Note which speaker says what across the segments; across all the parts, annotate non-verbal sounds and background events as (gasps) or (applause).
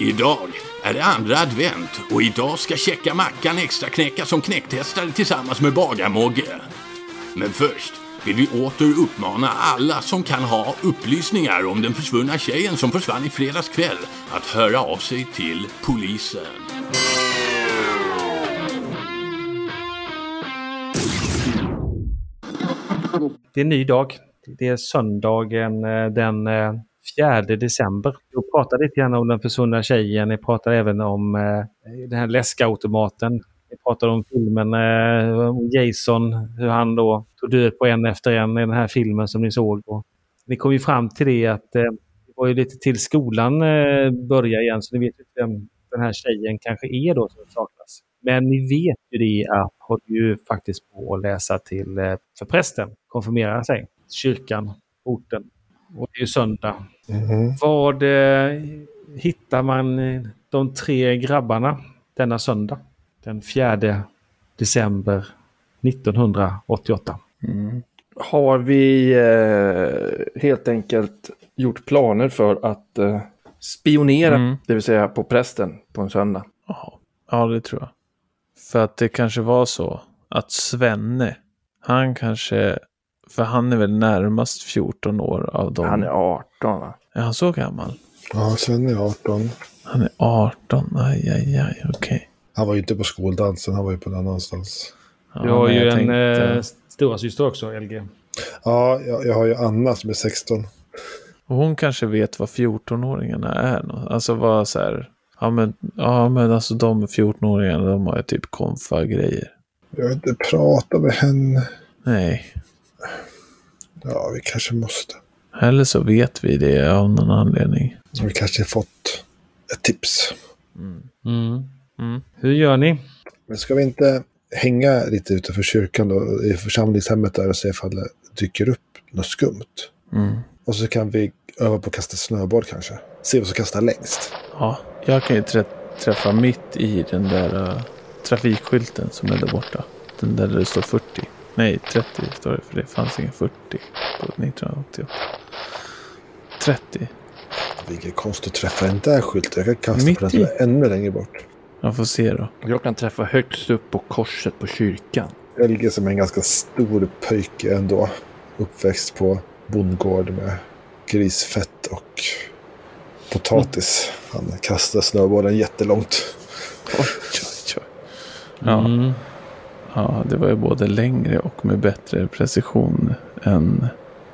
Speaker 1: Idag är det andra advent och idag ska Käcka Mackan extra knäcka som knäcktestare tillsammans med Bagarmogge. Men först vill vi åter uppmana alla som kan ha upplysningar om den försvunna tjejen som försvann i fredags kväll att höra av sig till polisen.
Speaker 2: Det är en ny dag. Det är söndagen eh, den eh, 4 december. Jag pratade lite grann om den försvunna tjejen. Jag pratade även om eh, den här läskautomaten. Jag pratade om filmen eh, om Jason, hur han då tog död på en efter en i den här filmen som ni såg. Och vi kom ju fram till det att eh, det var ju lite till skolan eh, börjar igen så ni vet ju inte vem den här tjejen kanske är då som saknas. Men ni vet ju det att håller ju faktiskt på att läsa till eh, för prästen, konfirmera sig, kyrkan, orten. Och det är ju söndag.
Speaker 3: Mm-hmm.
Speaker 2: Vad eh, hittar man eh, de tre grabbarna denna söndag? Den 4 december 1988.
Speaker 4: Har vi eh, helt enkelt gjort planer för att eh, spionera,
Speaker 3: Mm.
Speaker 4: det vill säga på prästen, på en söndag?
Speaker 3: Ja, ja, det tror jag. För att det kanske var så att Svenne, han kanske, för han är väl närmast 14 år av dem.
Speaker 4: Han är 18 va?
Speaker 3: Är han så gammal?
Speaker 5: Ja, Sven är 18.
Speaker 3: Han är 18, aj, aj, aj, okej.
Speaker 5: Han var ju inte på skoldansen, han var ju på någon annanstans.
Speaker 3: Ja,
Speaker 2: Du har
Speaker 3: men
Speaker 2: ju
Speaker 3: jag
Speaker 2: en
Speaker 3: tänkte-
Speaker 2: eh, stora syster också, LG.
Speaker 5: Ja, jag, jag har ju Anna som är 16.
Speaker 3: Och hon kanske vet vad 14-åringarna är. nå- Alltså vad så här. Ja men, ja, men alltså de 14-åringarna de har ju typ konfa-grejer.
Speaker 5: Jag har inte pratat med henne.
Speaker 3: Nej.
Speaker 5: Ja, vi kanske måste.
Speaker 3: Eller så vet vi det av någon anledning.
Speaker 5: Så vi kanske fått ett tips.
Speaker 3: Mm.
Speaker 2: Hur gör ni?
Speaker 5: Men ska vi inte hänga lite utanför kyrkan då, i församlingshemmet där och se ifall det dyker upp något skumt?
Speaker 3: Mm.
Speaker 5: Och så kan vi öva på att kasta snöboll kanske. Se vad som kastar längst.
Speaker 3: Ja, jag kan ju trä träffa mitt i den där eh, trafikskylten som är där borta. Den där det står 40. Nej, 30 står det för det fanns ingen 40 på 1988. 30.
Speaker 5: Vilken konst att träffa den där skylten. Jag kan kasta
Speaker 3: Mitt
Speaker 5: på den som
Speaker 3: i.
Speaker 5: är ännu längre bort.
Speaker 3: Jag får se då.
Speaker 4: Jag kan träffa högst upp på korset på kyrkan.
Speaker 5: LG som är en ganska stor pöjke ändå. Uppväxt på bondgård med grisfett och potatis. Han kastar snöbollen jättelångt.
Speaker 3: Oj, oj, oj. Ja.
Speaker 2: Mm.
Speaker 3: ja, det var ju både längre och med bättre precision än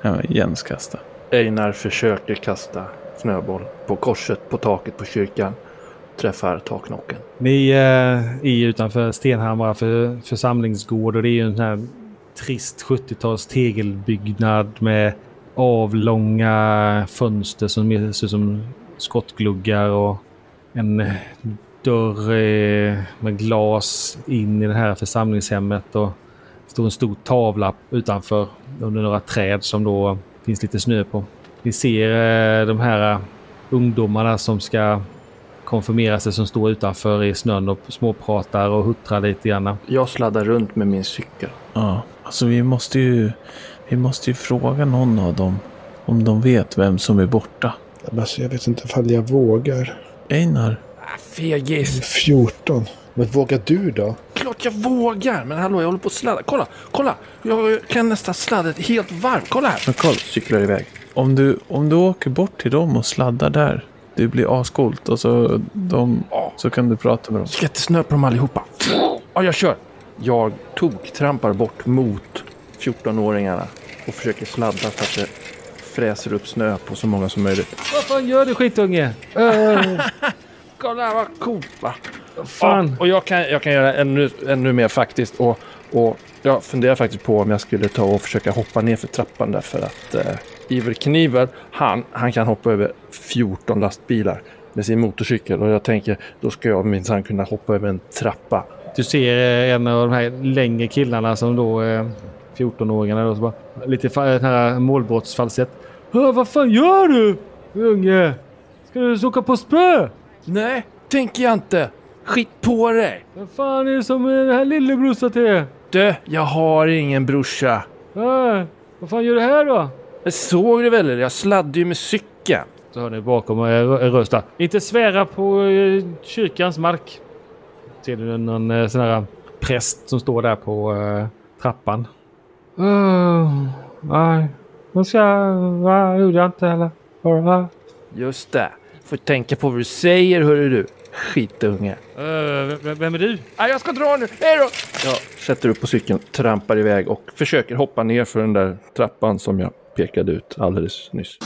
Speaker 3: ja, Jens kasta.
Speaker 4: Einar försöker kasta snöboll på korset på taket på kyrkan. Träffar taknocken.
Speaker 2: Ni eh, är ju utanför Stenhammar för församlingsgård och det är ju en sån här trist 70-tals tegelbyggnad med avlånga fönster som mer ser ut som skottgluggar och en eh, dörr eh, med glas in i det här församlingshemmet. Och det står en stor tavla utanför under några träd som då finns lite snö på. Ni ser eh, de här eh, ungdomarna som ska konfirmera sig som står utanför i snön och småpratar och huttrar lite grann.
Speaker 4: Jag sladdar runt med min cykel.
Speaker 3: Ja, alltså vi måste ju, vi måste ju fråga någon av dem om de vet vem som är borta.
Speaker 5: Ja, Men alltså, jag vet inte ifall jag vågar.
Speaker 3: Einar,
Speaker 5: Jag är
Speaker 4: Ah, Fegis!
Speaker 5: 14. Men vågar du då?
Speaker 4: Klart jag vågar! Men hallå, jag håller på att sladda. Kolla, kolla! Jag kan nästan sladda ett helt varv. Kolla här!
Speaker 3: Men kolla.
Speaker 4: Cyklar iväg.
Speaker 3: om du, om du åker bort till dem och sladdar där, det blir ascoolt och så, de, så kan du prata med dem.
Speaker 4: Skattesnö på dem allihopa. Ja, jag kör. Jag toktrampar bort mot 14-åringarna och försöker sladda så att det fräser upp snö på så många som möjligt.
Speaker 2: Vad fan gör du skitunge?
Speaker 4: Kolla vad coolt va?
Speaker 2: Fan.
Speaker 4: Ja, och jag kan, jag kan göra ännu, ännu mer faktiskt. Och, och jag funderar faktiskt på om jag skulle ta och försöka hoppa ner för trappan därför att eh, Iverkniven, han, han kan hoppa över 14 lastbilar med sin motorcykel. Och jag tänker, då ska jag minsann kunna hoppa över en trappa.
Speaker 2: Du ser eh, en av de här längre killarna som då eh, 14-åringarna då som bara lite fa- den här målbrottsfalsett. "Hör, Vad fan gör du unge? Ska du åka på spö?
Speaker 4: Nej, tänker jag inte. Skit på dig.
Speaker 2: Vad fan är det som är den här lillebrorsan till er?
Speaker 4: Du, jag har ingen brorsa.
Speaker 2: Äh, vad fan gör du här då?
Speaker 4: Jag såg du väl? eller? Jag sladdade ju med cykeln.
Speaker 2: Så hör ni bakom er rö- röst där. Inte svära på eh, kyrkans mark. Ser du någon eh, sån här präst som står där på eh, trappan? Uh, nej, hon ska... Va, gjorde jag inte heller. Var det va?
Speaker 4: Just det. Får tänka på vad du säger, hörru du. Skitunge.
Speaker 2: vem, Eh, vem är du?
Speaker 4: Ah, jag ska dra nu. Hej då! Jag sätter upp på cykeln, trampar iväg och försöker hoppa ner för den där trappan som jag pekade ut alldeles nyss.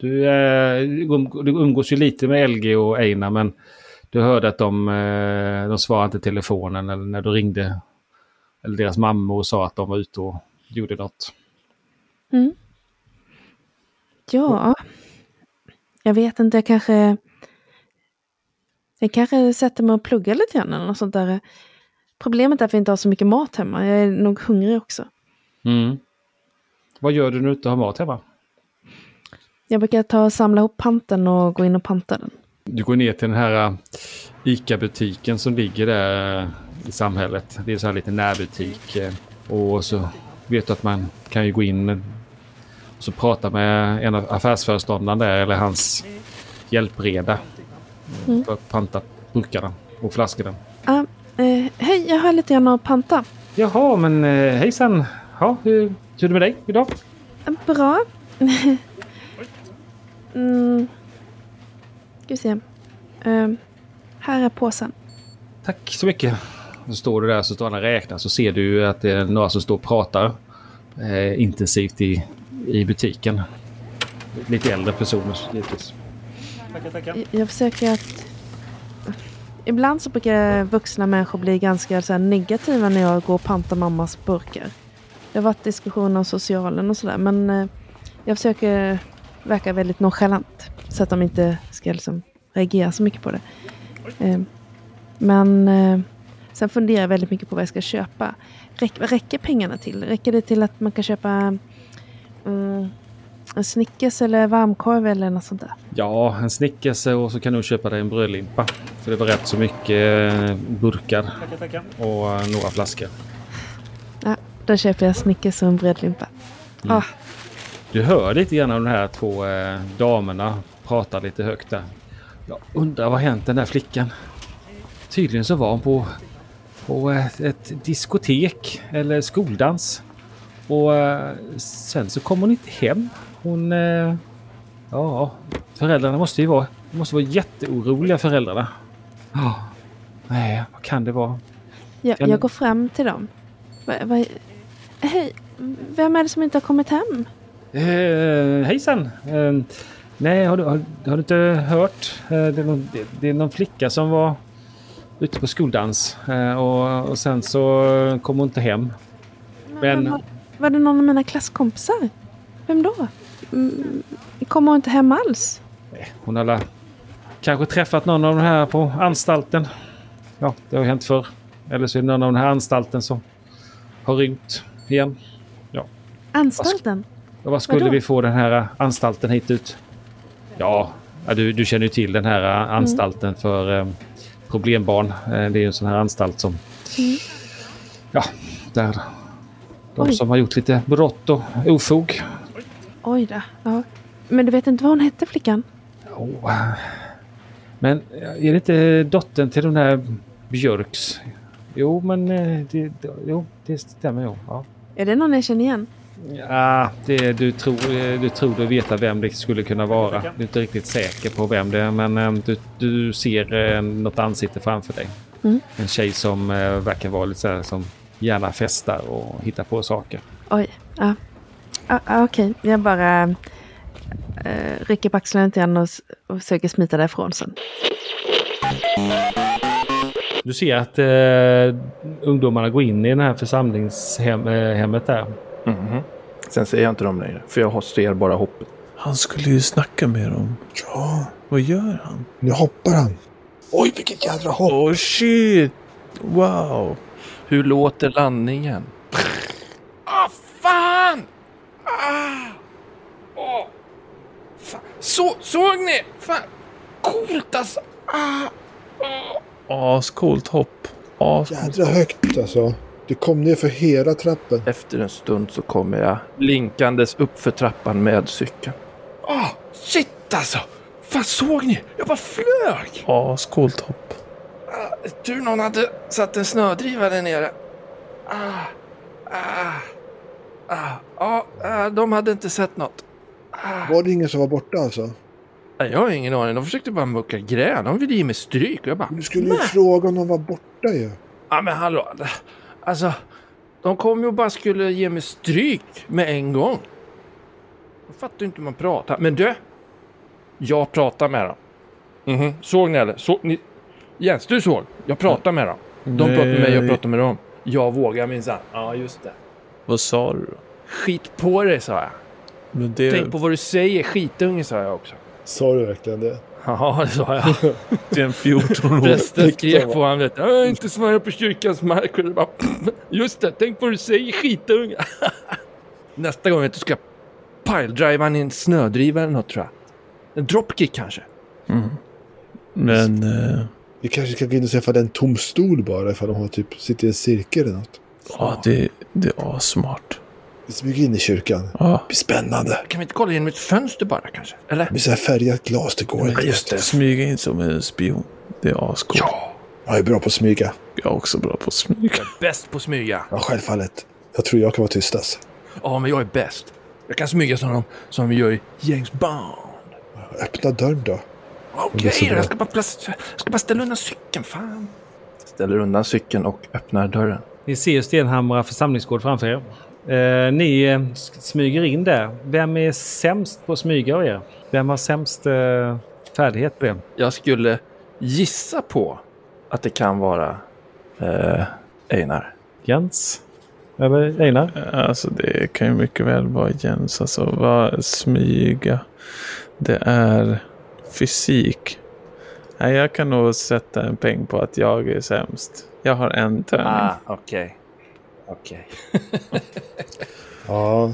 Speaker 2: Du, eh, um- du umgås ju lite med LG och Einar men du hörde att de, eh, de svarade inte telefonen eller när du ringde. Eller deras mammor och sa att de var ute och gjorde något.
Speaker 6: Ja. Jag vet inte, jag kanske... Jag kanske sätter mig och pluggar lite grann eller något sånt där. Problemet är att vi inte har så mycket mat hemma. Jag är nog hungrig också.
Speaker 2: Mm. Vad gör du när du inte har mat hemma?
Speaker 6: Jag brukar ta och samla ihop panten och gå in och panta den.
Speaker 2: Du går ner till den här eh, ICA-butiken som ligger där eh, i samhället. Det är så här lite närbutik. eh, Och så vet du att man kan ju gå in med- och så prata med en av affärsföreståndaren där eller hans hjälpreda. eh, För att panta burkarna och flaskorna.
Speaker 6: Ah, eh, hej, jag har lite grann att panta.
Speaker 2: Jaha, men eh, hejsan. Ja, hur, hur är det med dig idag?
Speaker 6: Eh, Bra. (laughs) mm. Ska vi se. Eh, här är påsen.
Speaker 2: Tack så mycket. Så står du där så står han och räknar så ser du ju att det är några som står och pratar eh, intensivt i, i butiken. Lite äldre personer givetvis.
Speaker 6: Jag- Jag försöker att... Ibland så brukar vuxna människor bli ganska så här negativa när jag går och pantar mammas burkar. Det har varit diskussioner om socialen och sådär men eh, jag försöker verka väldigt nonchalant så att de inte ska liksom reagera så mycket på det. Eh, Men eh, sen funderar jag väldigt mycket på vad jag ska köpa. Räck, vad räcker pengarna till? Räcker det till att man kan köpa mm, en Snickers eller varmkorv eller något sånt där?
Speaker 2: Ja, en snickelse och så kan du köpa dig en brödlimpa. För det var rätt så mycket eh, burkar och eh, några flaskor.
Speaker 6: Ja, där köper jag Snickers och en brödlimpa. Ah,
Speaker 2: Du hör lite grann av de här två eh, damerna prata lite högt där. Jag undrar vad hänt den där flickan? Tydligen så var hon på, på ett, ett diskotek eller skoldans. Och eh, sen så kom hon inte hem. Hon... Eh, ja, föräldrarna måste ju vara, måste vara jätteoroliga föräldrarna. Ja, nej, vad kan det vara?
Speaker 6: jag,
Speaker 2: Kan-
Speaker 6: jag går fram till dem. Va, va, hej, vem är det som inte har kommit hem?
Speaker 2: Eh, hejsan! Eh, nej, har du, har, har du inte hört? Eh, det, är någon, det, det är någon flicka som var ute på skoldans eh, och, och sen så kom hon inte hem. Men-
Speaker 6: var, var det någon av mina klasskompisar? Vem då? Mm, kommer hon inte hem alls?
Speaker 2: Hon har la- kanske träffat någon av de här på anstalten. Ja, det har hänt förr. Eller så är det någon av den här anstalten som har rymt igen.
Speaker 6: Anstalten?
Speaker 2: Och vad skulle
Speaker 6: Vadå?
Speaker 2: vi få den här eh, anstalten hit ut? Ja, ja, du, du känner ju till den här
Speaker 6: Mm.
Speaker 2: eh, anstalten för eh, problembarn. Eh, det är ju en sån här anstalt som... Ja, där. De
Speaker 6: Mm. Oj.
Speaker 2: som har gjort lite brott och ofog.
Speaker 6: Oj då. Ja. Men du vet inte vad hon hette flickan?
Speaker 2: Åh. Men eh, är det inte dottern till den där Björks? Jo, men eh, det, det, jo, det stämmer ju. Ja.
Speaker 6: Är det någon jag känner igen?
Speaker 2: Ja, det, du, tror, eh, du tror du veta vem det skulle kunna vara. Du är inte riktigt säker på vem det är, men eh, du, du ser eh, något ansikte framför dig.
Speaker 6: Mm.
Speaker 2: En tjej som eh, verkar vara lite så här, som gärna festar och hittar på saker.
Speaker 6: Oj, ja. Ah, ah, Okej, jag bara eh, rycker på axlarna lite grann och, s- och försöker smita därifrån sen.
Speaker 2: Du ser att eh, ungdomarna går in i det här församlingshemmet där.
Speaker 4: Sen ser jag inte dem längre, för jag har- ser bara hoppet.
Speaker 3: Han skulle ju snacka med dem.
Speaker 5: Ja,
Speaker 3: Vad gör han?
Speaker 5: nu hoppar han. Oj, vilket jädra hopp!
Speaker 3: Oh shit! Wow!
Speaker 4: Hur låter landningen? Ah, fan! Ah! Åh! Fan. Så, såg ni? Fan! Coolt alltså! Ah!
Speaker 3: Ascoolt hopp. Ascoolt.
Speaker 5: Jädra högt alltså. Du kom ner för hela trappen.
Speaker 4: Efter en stund så kommer jag blinkandes upp för trappan med cykeln. Ah, shit alltså! Vad såg ni? Jag bara flög!
Speaker 3: Ascoolt hopp.
Speaker 4: Ah, tur någon hade satt en snödriva där nere. Ah, ah, ah, ah, ah, de hade inte sett något. Ah.
Speaker 5: Var det ingen som var borta alltså?
Speaker 4: Nej, Jag har ingen aning. De försökte bara mucka gräl. De ville ge mig stryk. Och jag bara...
Speaker 5: Du skulle ju
Speaker 4: "Nej."
Speaker 5: fråga om de var borta ju.
Speaker 4: Ja men hallå. Alltså. De kom ju och bara skulle ge mig stryk med en gång. Jag fattar ju inte hur man pratar. Men du. Jag pratar med dem. Mhm. Såg ni eller? Såg ni? Jens, du såg? Jag pratar med dem. De pratar med mig, jag pratar med dem. Jag vågar minsann. Ja, just det.
Speaker 3: Vad sa du då?
Speaker 4: Skit på dig, sa jag.
Speaker 3: Men det,
Speaker 4: Tänk på vad du säger, skitunge, sa jag också.
Speaker 5: Sa du verkligen det?
Speaker 4: Ja, det sa (laughs) jag.
Speaker 3: det är en 14-åring.
Speaker 4: Prästen skrek på honom. vet du. "Äh, Inte svara på kyrkans mark. Och det bara, (clears throat) just det, tänk på vad du säger skitunga. (laughs) Nästa gång vet du, ska jag piledriva han i en snödriva eller något tror jag. En dropkick kanske.
Speaker 3: Men eh,
Speaker 5: Vi kanske ska gå in och träffa den tom stol bara ifall de har typ, sitter i en cirkel eller något.
Speaker 3: ja, det, det är assmart.
Speaker 5: Vi smyger in i kyrkan.
Speaker 3: Ja.
Speaker 5: Det blir spännande.
Speaker 4: Kan vi inte kolla genom ett fönster bara kanske? Eller?
Speaker 5: Det blir så här färgat glas, det går inte.
Speaker 4: just det.
Speaker 3: Smyga in som en spion. Det är ascoolt.
Speaker 4: Ja,
Speaker 5: Jag är bra på att smyga.
Speaker 3: Jag är också bra på att smyga.
Speaker 4: jag är bäst på att smyga.
Speaker 5: Ja, självfallet. Jag tror jag kan vara tystast.
Speaker 4: Ja, men jag är bäst. Jag kan smyga som de som vi gör i James Bond.
Speaker 5: Öppna dörren då.
Speaker 4: Okej
Speaker 5: Det är så
Speaker 4: då,
Speaker 5: bra.
Speaker 4: jag ska, bara plac- jag ska bara ställa undan cykeln, fan. Ställer undan cykeln och öppnar dörren.
Speaker 2: Ni ser ju Stenhamra församlingsgård framför er. Eh, ni eh, s- smyger in där. Vem är sämst på att smyga av er? Vem har sämst eh, färdighet på det?
Speaker 4: Jag skulle gissa på att det kan vara eh, Einar.
Speaker 2: Jens? Eller Einar?
Speaker 3: Alltså det kan ju mycket väl vara Jens. Alltså vad smyga. Det är fysik. Nej, jag kan nog sätta en peng på att jag är sämst. Jag har en tärning.
Speaker 4: Ah. okej. Okej.
Speaker 5: Ja,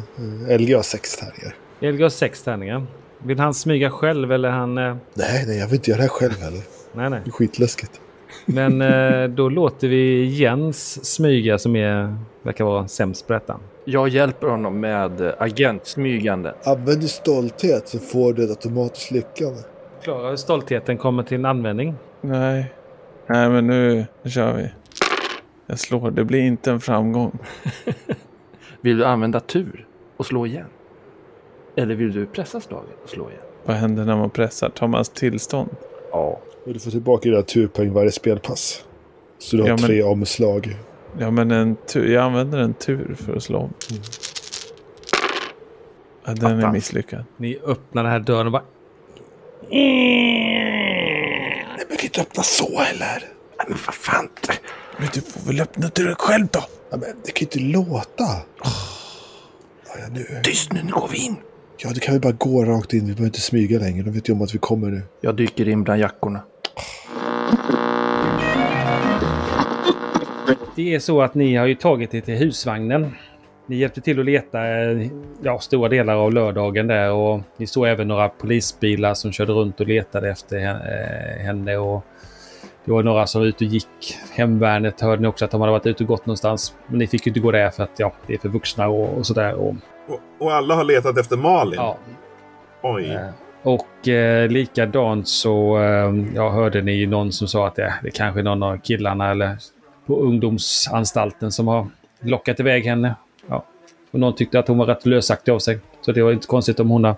Speaker 5: LG har sex tärningar.
Speaker 2: Elga har sex tärningar. Vill han smyga själv eller han... Eh,
Speaker 5: Nej, nej, jag vill inte göra det här själv heller.
Speaker 2: nej, nej.
Speaker 5: Det är skitläskigt.
Speaker 2: Men eh, då låter vi Jens smyga som är, verkar vara sämst på detta.
Speaker 4: Jag hjälper honom med eh, agentsmygande.
Speaker 5: Använd din stolthet så får du ett automatiskt lyckande.
Speaker 2: Klara hur stoltheten kommer till en användning.
Speaker 3: Nej. Nej, men nu kör vi. Jag slår. Det blir inte en framgång.
Speaker 4: Vill du använda tur och slå igen? Eller vill du pressa slaget och slå igen?
Speaker 3: Vad händer när man pressar? Tar man tillstånd?
Speaker 4: Ja.
Speaker 5: Och du får tillbaka dina turpoäng varje spelpass. Så du har
Speaker 3: Ja, men-
Speaker 5: tre omslag.
Speaker 3: Ja, men en tur. Jag använder en tur för att slå om. Ja, den är
Speaker 4: Attans.
Speaker 3: misslyckad.
Speaker 2: Ni öppnar den här dörren och bara...
Speaker 5: Nej, men kan inte öppna så heller.
Speaker 4: Men vad fan.
Speaker 3: Men du får väl öppna dörren själv då?
Speaker 5: Ja, men det kan ju inte låta. Ja, ja, nu.
Speaker 4: Tyst nu, nu går vi in.
Speaker 5: Ja, du kan väl bara gå rakt in. Vi behöver inte smyga längre. De vet ju om att vi kommer nu.
Speaker 4: Jag dyker in bland jackorna.
Speaker 2: Det är så att ni har ju tagit er till husvagnen. Ni hjälpte till att leta eh, ja, stora delar av lördagen där och ni såg även några polisbilar som körde runt och letade efter he- eh, henne. Och det var några som var ute och gick. Hemvärnet hörde ni också att de hade varit ute och gått någonstans. Men ni fick ju inte gå där för att ja, det är för vuxna och, och sådär. Och,
Speaker 7: Och, och alla har letat efter Malin.
Speaker 2: ja,
Speaker 7: Oj.
Speaker 2: Eh, Och eh, likadant så eh, jag hörde ni ju någon som sa att det, det kanske är någon av killarna eller på ungdomsanstalten som har lockat iväg henne. Ja. Och någon tyckte att hon var rätt lösaktig av sig. Så det var inte konstigt om hon har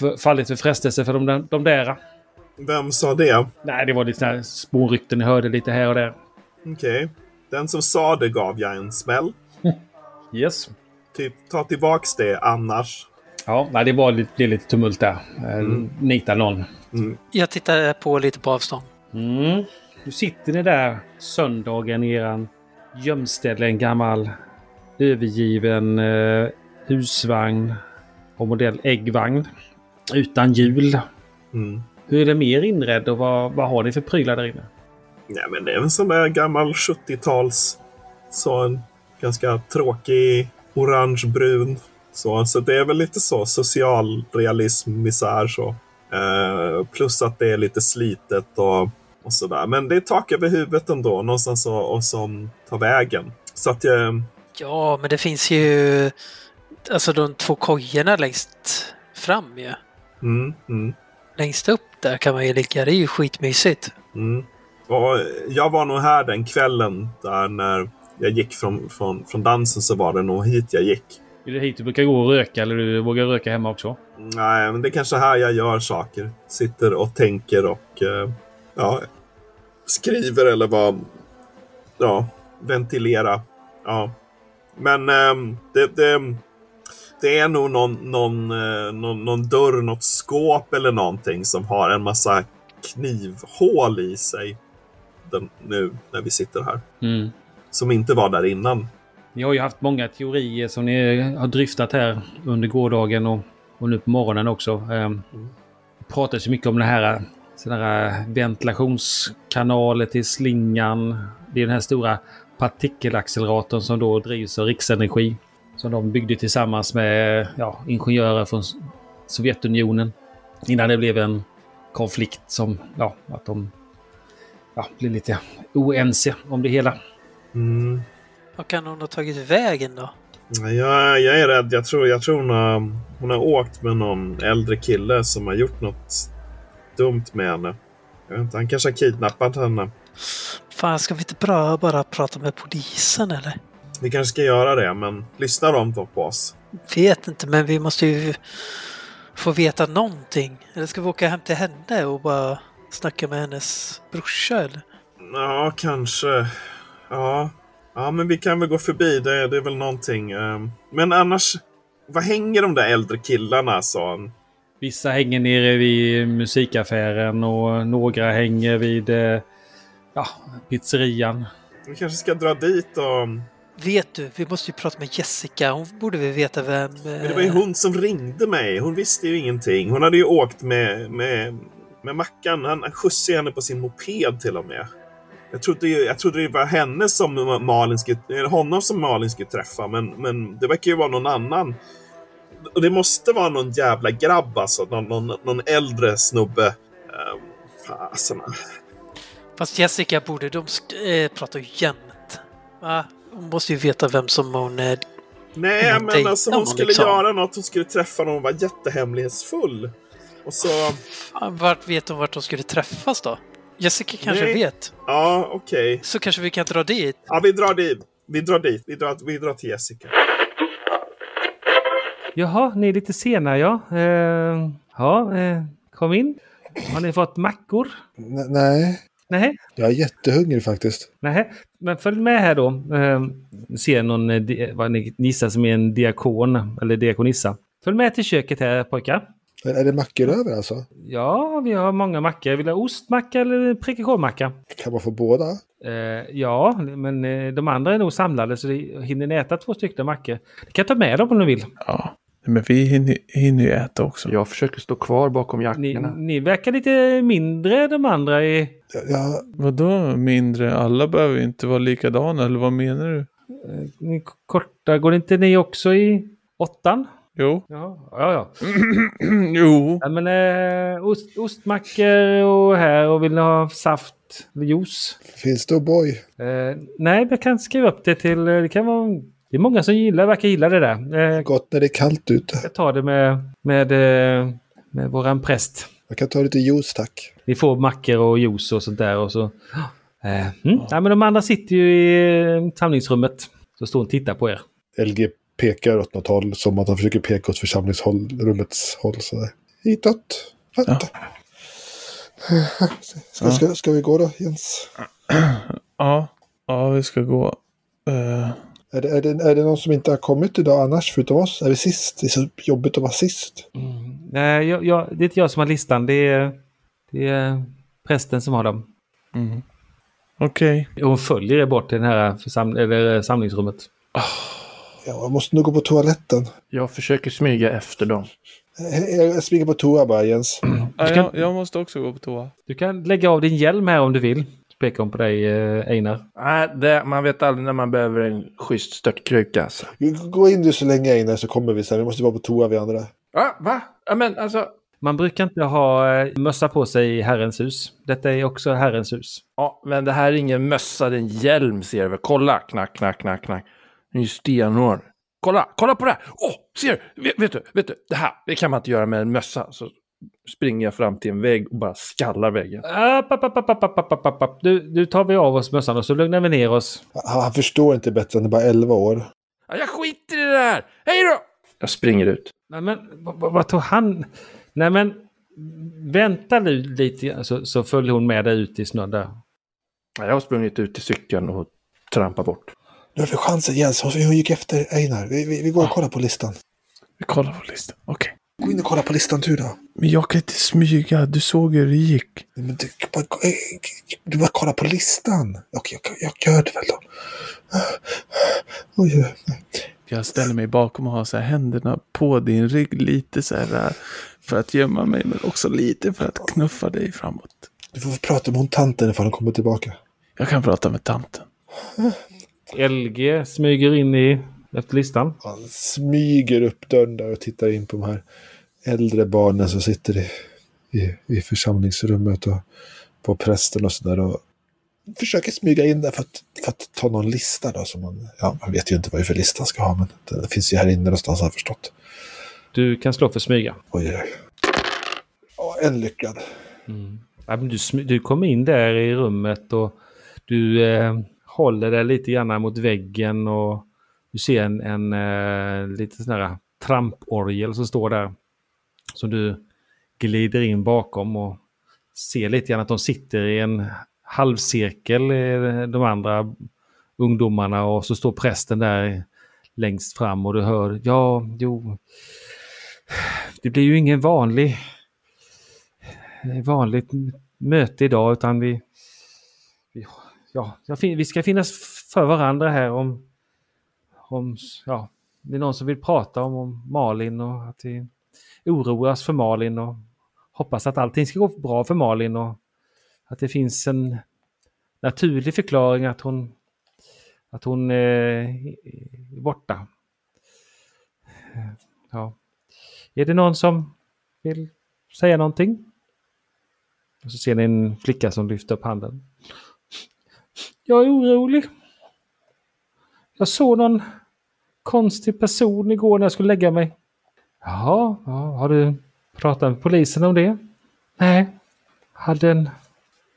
Speaker 2: f- fallit för frestelse för de, där- de där.
Speaker 7: Vem sa det?
Speaker 2: Nej, det var lite sådana här smårykten ni hörde lite här och där.
Speaker 7: Okej. Den som sa det gav jag en smäll.
Speaker 2: Yes.
Speaker 7: Typ, ta tillbaks det annars.
Speaker 2: Ja, nej, det var lite, det är lite tumult där. Eh, Nita någon.
Speaker 8: Jag tittar på lite på avstånd.
Speaker 2: Mm. Nu sitter ni där söndagen i eran gömställe, en gammal övergiven eh, husvagn och modell äggvagn utan hjul.
Speaker 7: Mm.
Speaker 2: Hur är det mer inredd och vad, vad har ni för prylar där inne?
Speaker 7: Nej, men det är en sån där gammal 70-tals... Så en ganska tråkig orangebrun. Så, så det är väl lite så socialrealism, misär så. Eh, plus att det är lite slitet och, och sådär. Men det är tak över huvudet ändå. Någonstans och, och som tar vägen. Så att eh, jag...
Speaker 8: Ja, men det finns ju alltså de två kojorna längst fram ju.
Speaker 7: Mm, mm,
Speaker 8: Längst upp där kan man ju ligga. Det är ju skitmysigt.
Speaker 7: mm. Och jag var nog här den kvällen där när jag gick från, från, från dansen så var det nog hit jag gick.
Speaker 2: Är det hit du brukar gå och röka eller du vågar röka hemma också?
Speaker 7: Nej, men det är kanske här jag gör saker. Sitter och tänker och eh, ja, skriver eller vad... Ja, ventilera. Ja. Men ehm, det, det, det är nog någon, någon, eh, någon, någon dörr, något skåp eller någonting som har en massa knivhål i sig. Den, nu när vi sitter här.
Speaker 2: Mm.
Speaker 7: Som inte var där innan.
Speaker 2: Ni har ju haft många teorier som ni har dryftat här under gårdagen och, och nu på morgonen också. Ehm, Det pratades ju mycket om den här, sån här ventilationskanaler till slingan. Det är den här stora partikelacceleratorn som då drivs av Riksenergi. Som de byggde tillsammans med ja, ingenjörer från S- Sovjetunionen. Innan det blev en konflikt som, ja, att de ja, blev lite oense om det hela.
Speaker 7: Mm.
Speaker 8: Vad kan hon ha tagit vägen då?
Speaker 7: Nej, Mm, Jag, jag är rädd. Jag tror, jag tror hon, har, hon har åkt med någon äldre kille som har gjort något dumt med henne. Jag vet inte, han kanske har kidnappat henne.
Speaker 8: Fan, ska vi inte bara, bara prata med polisen eller?
Speaker 7: Vi kanske ska göra det, men lyssnar de då på oss?
Speaker 8: Vet inte, men vi måste ju få veta någonting. Eller ska vi åka hem till henne och bara snacka med hennes brorsa eller?
Speaker 7: Ja, kanske. Ja. ja, men vi kan väl gå förbi. Det, det är väl någonting. ehm. Men annars, vad hänger de där äldre killarna, sa han.
Speaker 2: Vissa hänger nere vid musikaffären och några hänger vid eh, ja, pizzerian.
Speaker 7: Vi kanske ska dra dit och...
Speaker 8: Vet du, vi måste ju prata med Jessica. Hon borde väl veta vem...
Speaker 7: Men det var ju
Speaker 8: Eh.
Speaker 7: hon som ringde mig. Hon visste ju ingenting. Hon hade ju åkt med, med, med Mackan. Han, han skjutsade henne på sin moped till och med. Jag trodde, ju, jag trodde det var henne som Malin skulle, eller honom som Malin skulle träffa, men, men det verkar ju vara någon annan. Och det måste vara någon jävla grabb alltså. Någon, någon, någon äldre snubbe. Ehm, Fasen.
Speaker 8: Fast Jessica borde, de sk- eh, pratar ju jämt. Va? Hon måste ju veta vem som hon är.
Speaker 7: Nej,
Speaker 8: Men
Speaker 7: men
Speaker 8: dejta
Speaker 7: alltså hon
Speaker 8: någon,
Speaker 7: skulle
Speaker 8: liksom.
Speaker 7: göra något. Hon skulle träffa någon och vara jättehemlighetsfull. Och så...
Speaker 8: Fan, Vart vet hon vart de skulle träffas då? Jessica kanske
Speaker 7: Nej.
Speaker 8: vet.
Speaker 7: Ja, okej.
Speaker 8: Så kanske vi kan dra dit.
Speaker 7: Ja, vi drar dit. Vi drar dit. Vi drar, vi drar till Jessica.
Speaker 2: Jaha, ni är lite sena ja. Eh, ja, eh, kom in. Har ni fått mackor?
Speaker 5: N- nej,
Speaker 2: Nej,
Speaker 5: jag är jättehungrig faktiskt.
Speaker 2: nej. Men följ med här då. Eh, ni ser någon, eh, di- vad ni gissar som är en diakon eller diakonissa. Följ med till köket här pojkar.
Speaker 5: Men är det mackor över alltså?
Speaker 2: Ja, vi har många mackor. Vill du ha ostmacka eller prickkorvmacka?
Speaker 5: Kan man få båda?
Speaker 2: Eh, ja, men eh, de andra är nog samlade så det- hinner ni äta två stycken mackor? Ni kan ta med dem om ni vill.
Speaker 3: Ja. Men vi hinner, hinner ju äta också.
Speaker 4: Jag försöker stå kvar bakom
Speaker 2: Ni,
Speaker 4: jackorna.
Speaker 2: ni verkar lite mindre än de andra. I,
Speaker 5: Ja, ja,
Speaker 3: Vadå mindre? Alla behöver ju inte vara likadana, eller vad menar du?
Speaker 2: ni är korta. Går inte ni också i åttan?
Speaker 3: Jo. (clears throat)
Speaker 2: Ja, ja. ja.
Speaker 3: jo.
Speaker 2: Nej, men, eh, ost, ostmackor och här och vill ni ha saft eller juice?
Speaker 5: finns det O'boy?
Speaker 2: Eh, nej, jag kan skriva upp det till... eh, Det kan vara... Det är många som gillar, verkar gilla det där. Eh,
Speaker 5: Gott när det är kallt ute.
Speaker 2: jag tar det med, med, eh, med våran präst.
Speaker 5: Jag kan ta lite juice tack.
Speaker 2: Vi får mackor och juice och sånt där. Och så. (gasps) Eh, mm. Nej, men de andra sitter ju i eh, samlingsrummet. Så står och tittar på er.
Speaker 5: LG pekar åt något håll, som att han försöker peka åt församlingsrummets håll. Sådär. Hitåt! Vänta! (laughs) Ska, ska, ska vi gå då, Jens?
Speaker 3: Ja. Ja, vi ska gå. Eh,
Speaker 5: Är det, är, det, är det någon som inte har kommit idag annars, förutom oss? Är vi sist? Det är så jobbigt att vara sist.
Speaker 2: Nej, Eh, jag, jag, det är inte jag som har listan. Det är, det är prästen som har dem.
Speaker 3: Okej.
Speaker 2: Och Hon följer er bort till det här försam- eller eh, samlingsrummet.
Speaker 5: Ja, jag måste nog gå på toaletten.
Speaker 4: Jag försöker smyga efter dem.
Speaker 5: Jag, jag springer på toa bara, Jens.
Speaker 3: Ja,
Speaker 2: Du kan-
Speaker 3: jag, jag måste också gå på toa.
Speaker 2: Du kan lägga av din hjälm här om du vill. Så pekar hon på dig, eh, Einar.
Speaker 4: Nej, det, man vet aldrig när man behöver en schysst störtkruka. Alltså.
Speaker 5: Gå in du så länge, Einar, så kommer vi sen. Vi måste vara på toa, vi andra.
Speaker 4: Ah, va? Ja, men alltså,
Speaker 2: Man brukar inte ha eh, mössa på sig i Herrens hus. Detta är också Herrens hus.
Speaker 4: Ja, men det här är ingen mössa, det är en hjälm ser du väl? Kolla! Knack, knack, knack, knack. Den är ju stenhård. Kolla, kolla på det här! Åh, ser du? Vet, vet du? Vet du? Det här, det kan man inte göra med en mössa. Så springer jag fram till en vägg och bara skallar väggen.
Speaker 2: App, app, app, app, app, app, app, app, app. Du, nu tar vi av oss mössan och så lugnar vi ner oss.
Speaker 5: Han han förstår inte bättre, han är bara 11 år.
Speaker 4: Ja, jag skiter i det här! Hej då! Jag springer ut.
Speaker 2: Nej men, vad, vad vad tog han? Nej men, vänta nu lite grann, så, så följer hon med dig ut i snön där.
Speaker 4: Ja, Jag har sprungit ut till cykeln och trampat bort.
Speaker 5: Nu har vi chansen Jens, hon hon gick efter Einar. Vi, vi, vi går och kollar på listan.
Speaker 3: Vi kollar på listan. Okej.
Speaker 5: Gå in och kolla på listan du då.
Speaker 3: Men jag kan inte smyga. Du såg hur det gick.
Speaker 5: Nej, Men du, bara, eh, du bara kolla på listan. Okej, jag, jag gör det väl då. Oj, oj, oj.
Speaker 3: Jag ställer mig bakom och har så här händerna på din rygg. Lite så här äh, för att gömma mig, men också lite för att knuffa dig framåt.
Speaker 5: Du får prata med hon tanten ifall hon kommer tillbaka.
Speaker 3: Jag kan prata med tanten.
Speaker 2: LG smyger in i, efter listan.
Speaker 5: Han smyger upp dörren där och tittar in på de här äldre barnen som sitter i, i, i församlingsrummet och på prästen och sådär. Och försöker smyga in där för att, för att ta någon lista då. Som man, ja, man vet ju inte vad det är för lista han ska ha, men den finns ju här inne någonstans har jag förstått.
Speaker 2: Du kan slå för smyga.
Speaker 5: Oj, oj, oj. Ja, en lyckad.
Speaker 2: Ja, men du, smy- du kommer in där i rummet och du eh, håller dig lite grann mot väggen och du ser en, en eh, lite sån här tramporgel som står där. Som du glider in bakom och ser lite grann att de sitter i en halvcirkel, eh, de andra ungdomarna och så står prästen där längst fram och du hör ja, jo, det blir ju ingen vanlig vanligt möte idag utan vi, vi, ja, jag fin- vi ska finnas för varandra här om, om ja, det är någon som vill prata om, om Malin och att vi oroas för Malin och hoppas att allting ska gå bra för Malin och att det finns en naturlig förklaring att hon, att hon eh, är borta. Eh, Ja. Är det någon som vill säga någonting? Och så ser ni en flicka som lyfter upp handen. Jag är orolig. Jag såg någon konstig person igår när jag skulle lägga mig. Jaha, ja, har du pratat med polisen om det? Nej, hade en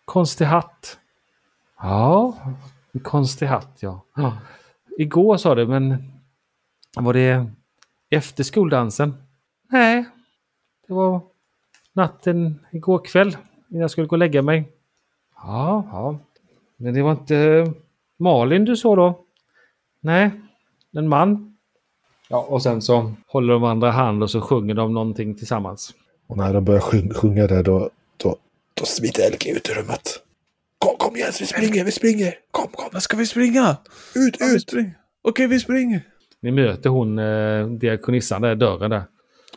Speaker 2: konstig hatt. Ja, en konstig hatt ja. ja. Igår sa du, men var det efter skoldansen? Nej, det var natten igår kväll innan jag skulle gå och lägga mig. Ja, ja. Men det var inte eh, Malin du såg då? Nej, en man. Ja, och sen så håller de andra hand och så sjunger de någonting tillsammans.
Speaker 5: Och när de börjar sjung- sjunga där då, då, då smiter Elke ut ur rummet. Kom, kom Jens, vi springer, vi springer! Kom, kom!
Speaker 3: Vad ska vi springa?
Speaker 5: Ut,
Speaker 3: Ja, vi
Speaker 5: ut!
Speaker 3: springer. Okej, vi springer.
Speaker 2: Ni möter hon, eh, diakonissan där i dörren där.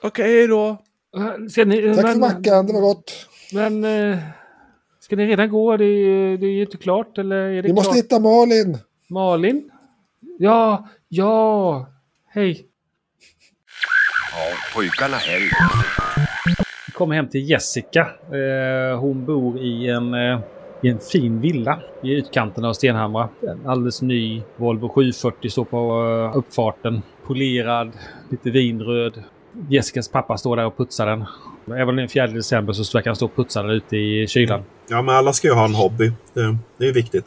Speaker 3: Okej, hej då.
Speaker 2: Eh, Ska ni,
Speaker 5: Tack för
Speaker 2: men,
Speaker 5: mackan, det var gott!
Speaker 2: men eh, ska ni redan gå? Det är, ju- det är ju inte klart. Eller är det
Speaker 5: Vi måste
Speaker 2: klart?
Speaker 5: hitta Malin!
Speaker 2: Malin? Ja, ja, hej.
Speaker 9: Pojkarna helg.
Speaker 2: kommer hem till Jessica. Eh, hon bor i en, eh, i en fin villa i utkanten av Stenhamra. En alldeles ny Volvo 740 står på eh, uppfarten. Polerad, lite vinröd. Jessicas pappa står där och putsar den. Även om det är den 4 december så verkar han stå och putsa den ute i kylan.
Speaker 7: Ja, men alla ska ju ha en hobby. Det, det är viktigt.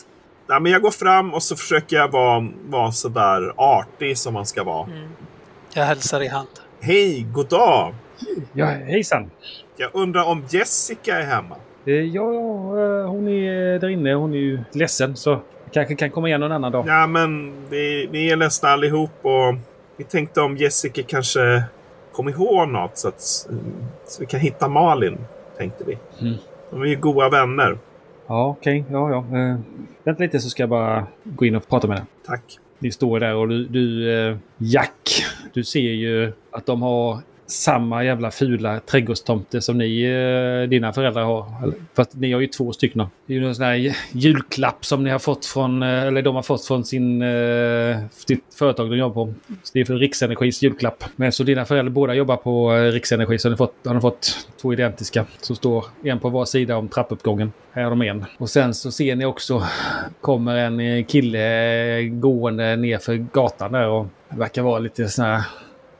Speaker 7: Nej, men jag går fram och så försöker jag vara, vara sådär artig som man ska vara.
Speaker 8: Mm. Jag hälsar i hand.
Speaker 7: Hej, god dag!
Speaker 2: Ja, hejsan!
Speaker 7: Jag undrar om Jessica är hemma?
Speaker 2: Eh, ja, eh, hon är där inne. Hon är ju ledsen så kanske kan komma igen någon annan dag.
Speaker 7: Ja, men vi, vi är ledsna allihop och vi tänkte om Jessica kanske kom ihåg något så att så vi kan hitta Malin, tänkte vi.
Speaker 2: Mm.
Speaker 7: De är ju goda vänner.
Speaker 2: Ja, okej. Ja, ja. Eh, vänta lite så ska jag bara gå in och prata med henne.
Speaker 7: Tack.
Speaker 2: Ni står där och du, du eh, Jack, du ser ju att de har samma jävla fula trädgårdstomte som ni, eh, dina föräldrar har. Eller, Fast ni har ju två stycken. Det är ju någon sån här julklapp som ni har fått från, eh, eller de har fått från sin, eh, sitt företag de jobbar på. Så det är för Riksenergis julklapp. Men så dina föräldrar båda jobbar på eh, Riksenergi så har ni fått, har ni fått två identiska. Som står en på var sida om trappuppgången. Här har de en. Och sen så ser ni också kommer en eh, kille eh, gående ner för gatan där och verkar vara lite sån här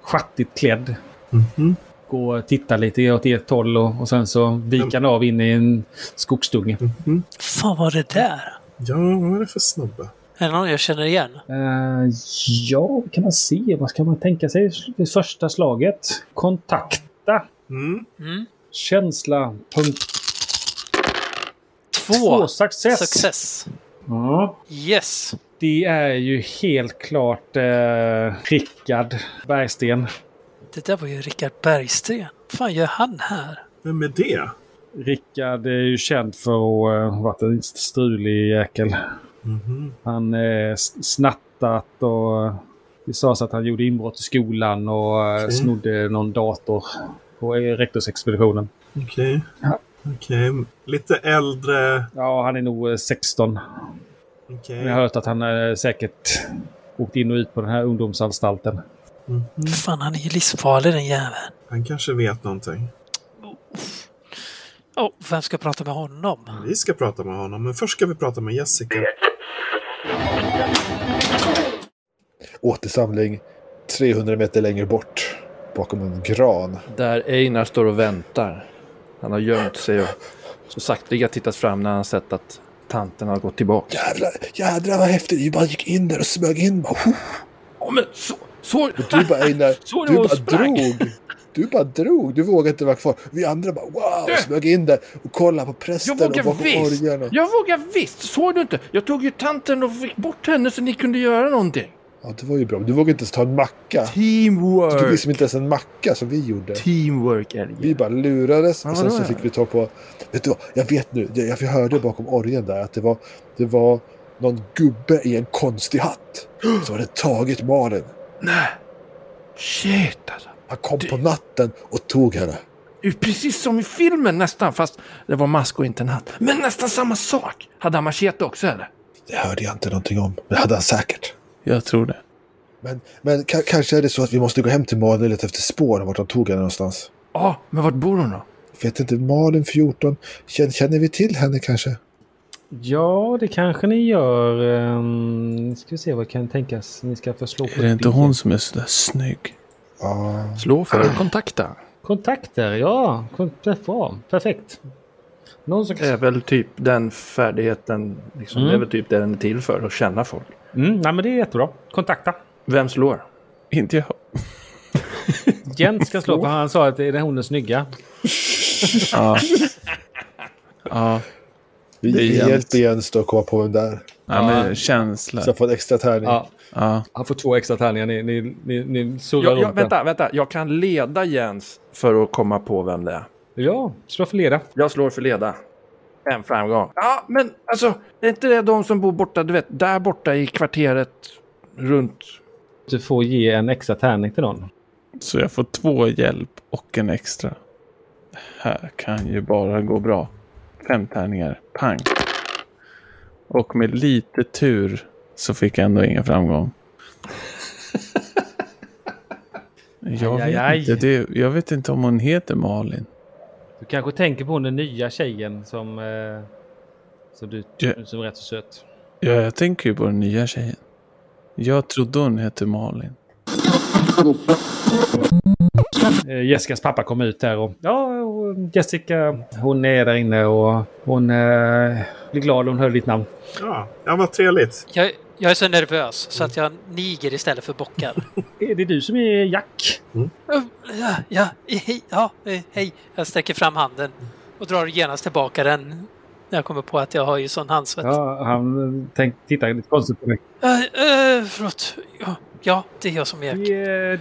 Speaker 2: schattigt klädd gå och titta lite åt ert håll och, och sen så viker han av in i en skogsdunge.
Speaker 8: Fan var det där?
Speaker 7: Ja, vad är det för snubbe?
Speaker 8: Är det någon jag känner igen?
Speaker 2: Eh, ja, vad kan man se? Vad kan man tänka sig vid första slaget? Kontakta.
Speaker 7: Mm.
Speaker 8: Mm.
Speaker 2: Känsla. Punkt.
Speaker 8: Två,
Speaker 2: Två success.
Speaker 8: success.
Speaker 2: Ja.
Speaker 8: Yes.
Speaker 2: Det är ju helt klart eh, Rickard Bergsten.
Speaker 8: Det där var ju Rickard Bergsten. fan gör han här?
Speaker 7: Vem är det?
Speaker 2: Rickard är ju känd för att eh, ha varit en strulig jäkel.
Speaker 7: Mhm.
Speaker 2: Han eh, s- snattat och eh, det sades att han gjorde inbrott i skolan och eh,
Speaker 7: Okej.
Speaker 2: snodde någon dator på eh, rektorsexpeditionen.
Speaker 7: Okej.
Speaker 2: Ja.
Speaker 7: Okej. Lite äldre.
Speaker 2: Ja, han är nog eh, 16.
Speaker 7: Okej.
Speaker 2: Men Jag har hört att han eh, säkert åkt in och ut på den här ungdomsanstalten. Mm.
Speaker 7: Mhm.
Speaker 8: Fan, han är ju livsfarlig den jäveln.
Speaker 7: Han kanske vet någonting.
Speaker 8: Oh, vem ska prata med honom?
Speaker 7: Vi ska prata med honom, men först ska vi prata med Jessica.
Speaker 5: Återsamling 300 meter längre bort. Bakom en gran.
Speaker 4: Där Einar står och väntar. Han har gömt sig och så sakteliga tittat fram när han sett att tanten har gått tillbaka.
Speaker 5: Jävlar, jädrar vad häftigt. Du bara gick in där och smög in. Bara,
Speaker 4: (laughs)
Speaker 5: huh.
Speaker 4: Ja, men så, så,
Speaker 5: Och du bara, Einar,
Speaker 4: (laughs) så
Speaker 5: du bara drog. Du bara drog. Du vågade inte vara kvar. Vi andra bara wow.
Speaker 4: Du!
Speaker 5: Smög in där och kollade på prästen
Speaker 4: Eh. Jag vågar
Speaker 5: och bakom
Speaker 4: visst.
Speaker 5: orgeln. Och...
Speaker 4: Jag vågar visst! Såg du inte? Jag tog ju tanten och fick bort henne så ni kunde göra någonting.
Speaker 5: Ja, det var ju bra. Du vågade inte ens ta en macka. Du tog
Speaker 4: Teamwork!
Speaker 5: liksom inte ens en macka som vi gjorde.
Speaker 4: Teamwork är
Speaker 5: Vi
Speaker 4: det.
Speaker 5: bara lurades
Speaker 4: Ja,
Speaker 5: och sen
Speaker 4: vadå,
Speaker 5: så
Speaker 4: ja.
Speaker 5: fick vi ta på... Vet du vad? Jag vet nu. Jag, jag hörde bakom orgeln där att det var, det var någon gubbe i en konstig hatt som hade tagit Malin.
Speaker 4: Nej. Shit alltså.
Speaker 5: Han kom på natten och tog henne.
Speaker 4: Det är Precis som i filmen nästan, fast det var mask och inte en hatt. Men nästan samma sak! Hade han machete också eller?
Speaker 5: Det hörde jag inte någonting om. Det hade han säkert.
Speaker 3: Jag tror det.
Speaker 5: Men, men ka- kanske är det så att vi måste gå hem till Malin och leta efter spår vart de tog henne någonstans.
Speaker 4: Ja, men vart bor hon då?
Speaker 5: Vet inte, Malin 14. Känner, känner vi till henne kanske?
Speaker 2: Ja, det kanske ni gör. Um, ska vi se vad kan tänkas ni ska få slå på.
Speaker 3: Är det inte hon som är sådär snygg?
Speaker 5: Ja.
Speaker 4: Slå för att kontakta.
Speaker 2: Kontakter, ja. Kont- bra. Perfekt. Någon som kan...
Speaker 4: är väl typ den färdigheten, liksom,
Speaker 2: Mm.
Speaker 4: det är väl typ det den är till för, att känna folk.
Speaker 2: Mm, nej, men det är jättebra. Kontakta.
Speaker 4: Vem slår?
Speaker 3: Inte jag.
Speaker 2: Jens ska slå på han sa att det är hon är snygga.
Speaker 3: Ja. ja.
Speaker 5: Vi,
Speaker 3: Det är
Speaker 5: vi
Speaker 3: jämnt.
Speaker 5: hjälper Jens då att komma på vem där.
Speaker 3: ja,
Speaker 2: Ja.
Speaker 3: men känsla.
Speaker 5: Så jag får en extra tärning.
Speaker 2: Ja,
Speaker 3: Ja.
Speaker 2: han får två extra tärningar. Ni, ni, ni, ni surrar
Speaker 4: Jag, jag,
Speaker 2: runt där.
Speaker 4: vänta, vänta. Jag kan leda Jens för att komma på vem det är.
Speaker 2: Ja, slå för leda.
Speaker 4: Jag slår för leda. En framgång. Ja, men alltså, är inte det de som bor borta, du vet, där borta i kvarteret runt?
Speaker 2: Du får ge en extra tärning till någon.
Speaker 3: Så jag får två hjälp och en extra. Det här kan ju bara gå bra. Fem tärningar. Pang. Och med lite tur så fick jag ändå
Speaker 2: (laughs)
Speaker 3: ingen framgång. Jag
Speaker 2: Aj, aj, aj.
Speaker 3: vet, inte, det, jag vet inte om hon heter Malin.
Speaker 2: Du kanske tänker på den nya tjejen som, eh, som, du,
Speaker 3: Ja.
Speaker 2: som är rätt så söt.
Speaker 3: Ja, jag tänker ju på den nya tjejen. Jag trodde hon hette Malin.
Speaker 2: Eh, Jessicas pappa kom ut där och ja, och eh, Jessica hon är där inne och hon eh, blir glad hon hör ditt namn.
Speaker 7: Ja, ja vad trevligt.
Speaker 8: Jag, jag är så nervös så att jag niger istället för bockar.
Speaker 2: Är det du som är Jack?
Speaker 8: Oh, Ja, ja, hej, ja, eh, hej. Jag sträcker fram handen och drar genast tillbaka den. När jag kommer på att jag har ju sån handsvett. Ja.
Speaker 2: Ja, han tänk, tittar lite konstigt på mig.
Speaker 8: eh, förlåt. Ja, ja, det är jag som är
Speaker 2: Det är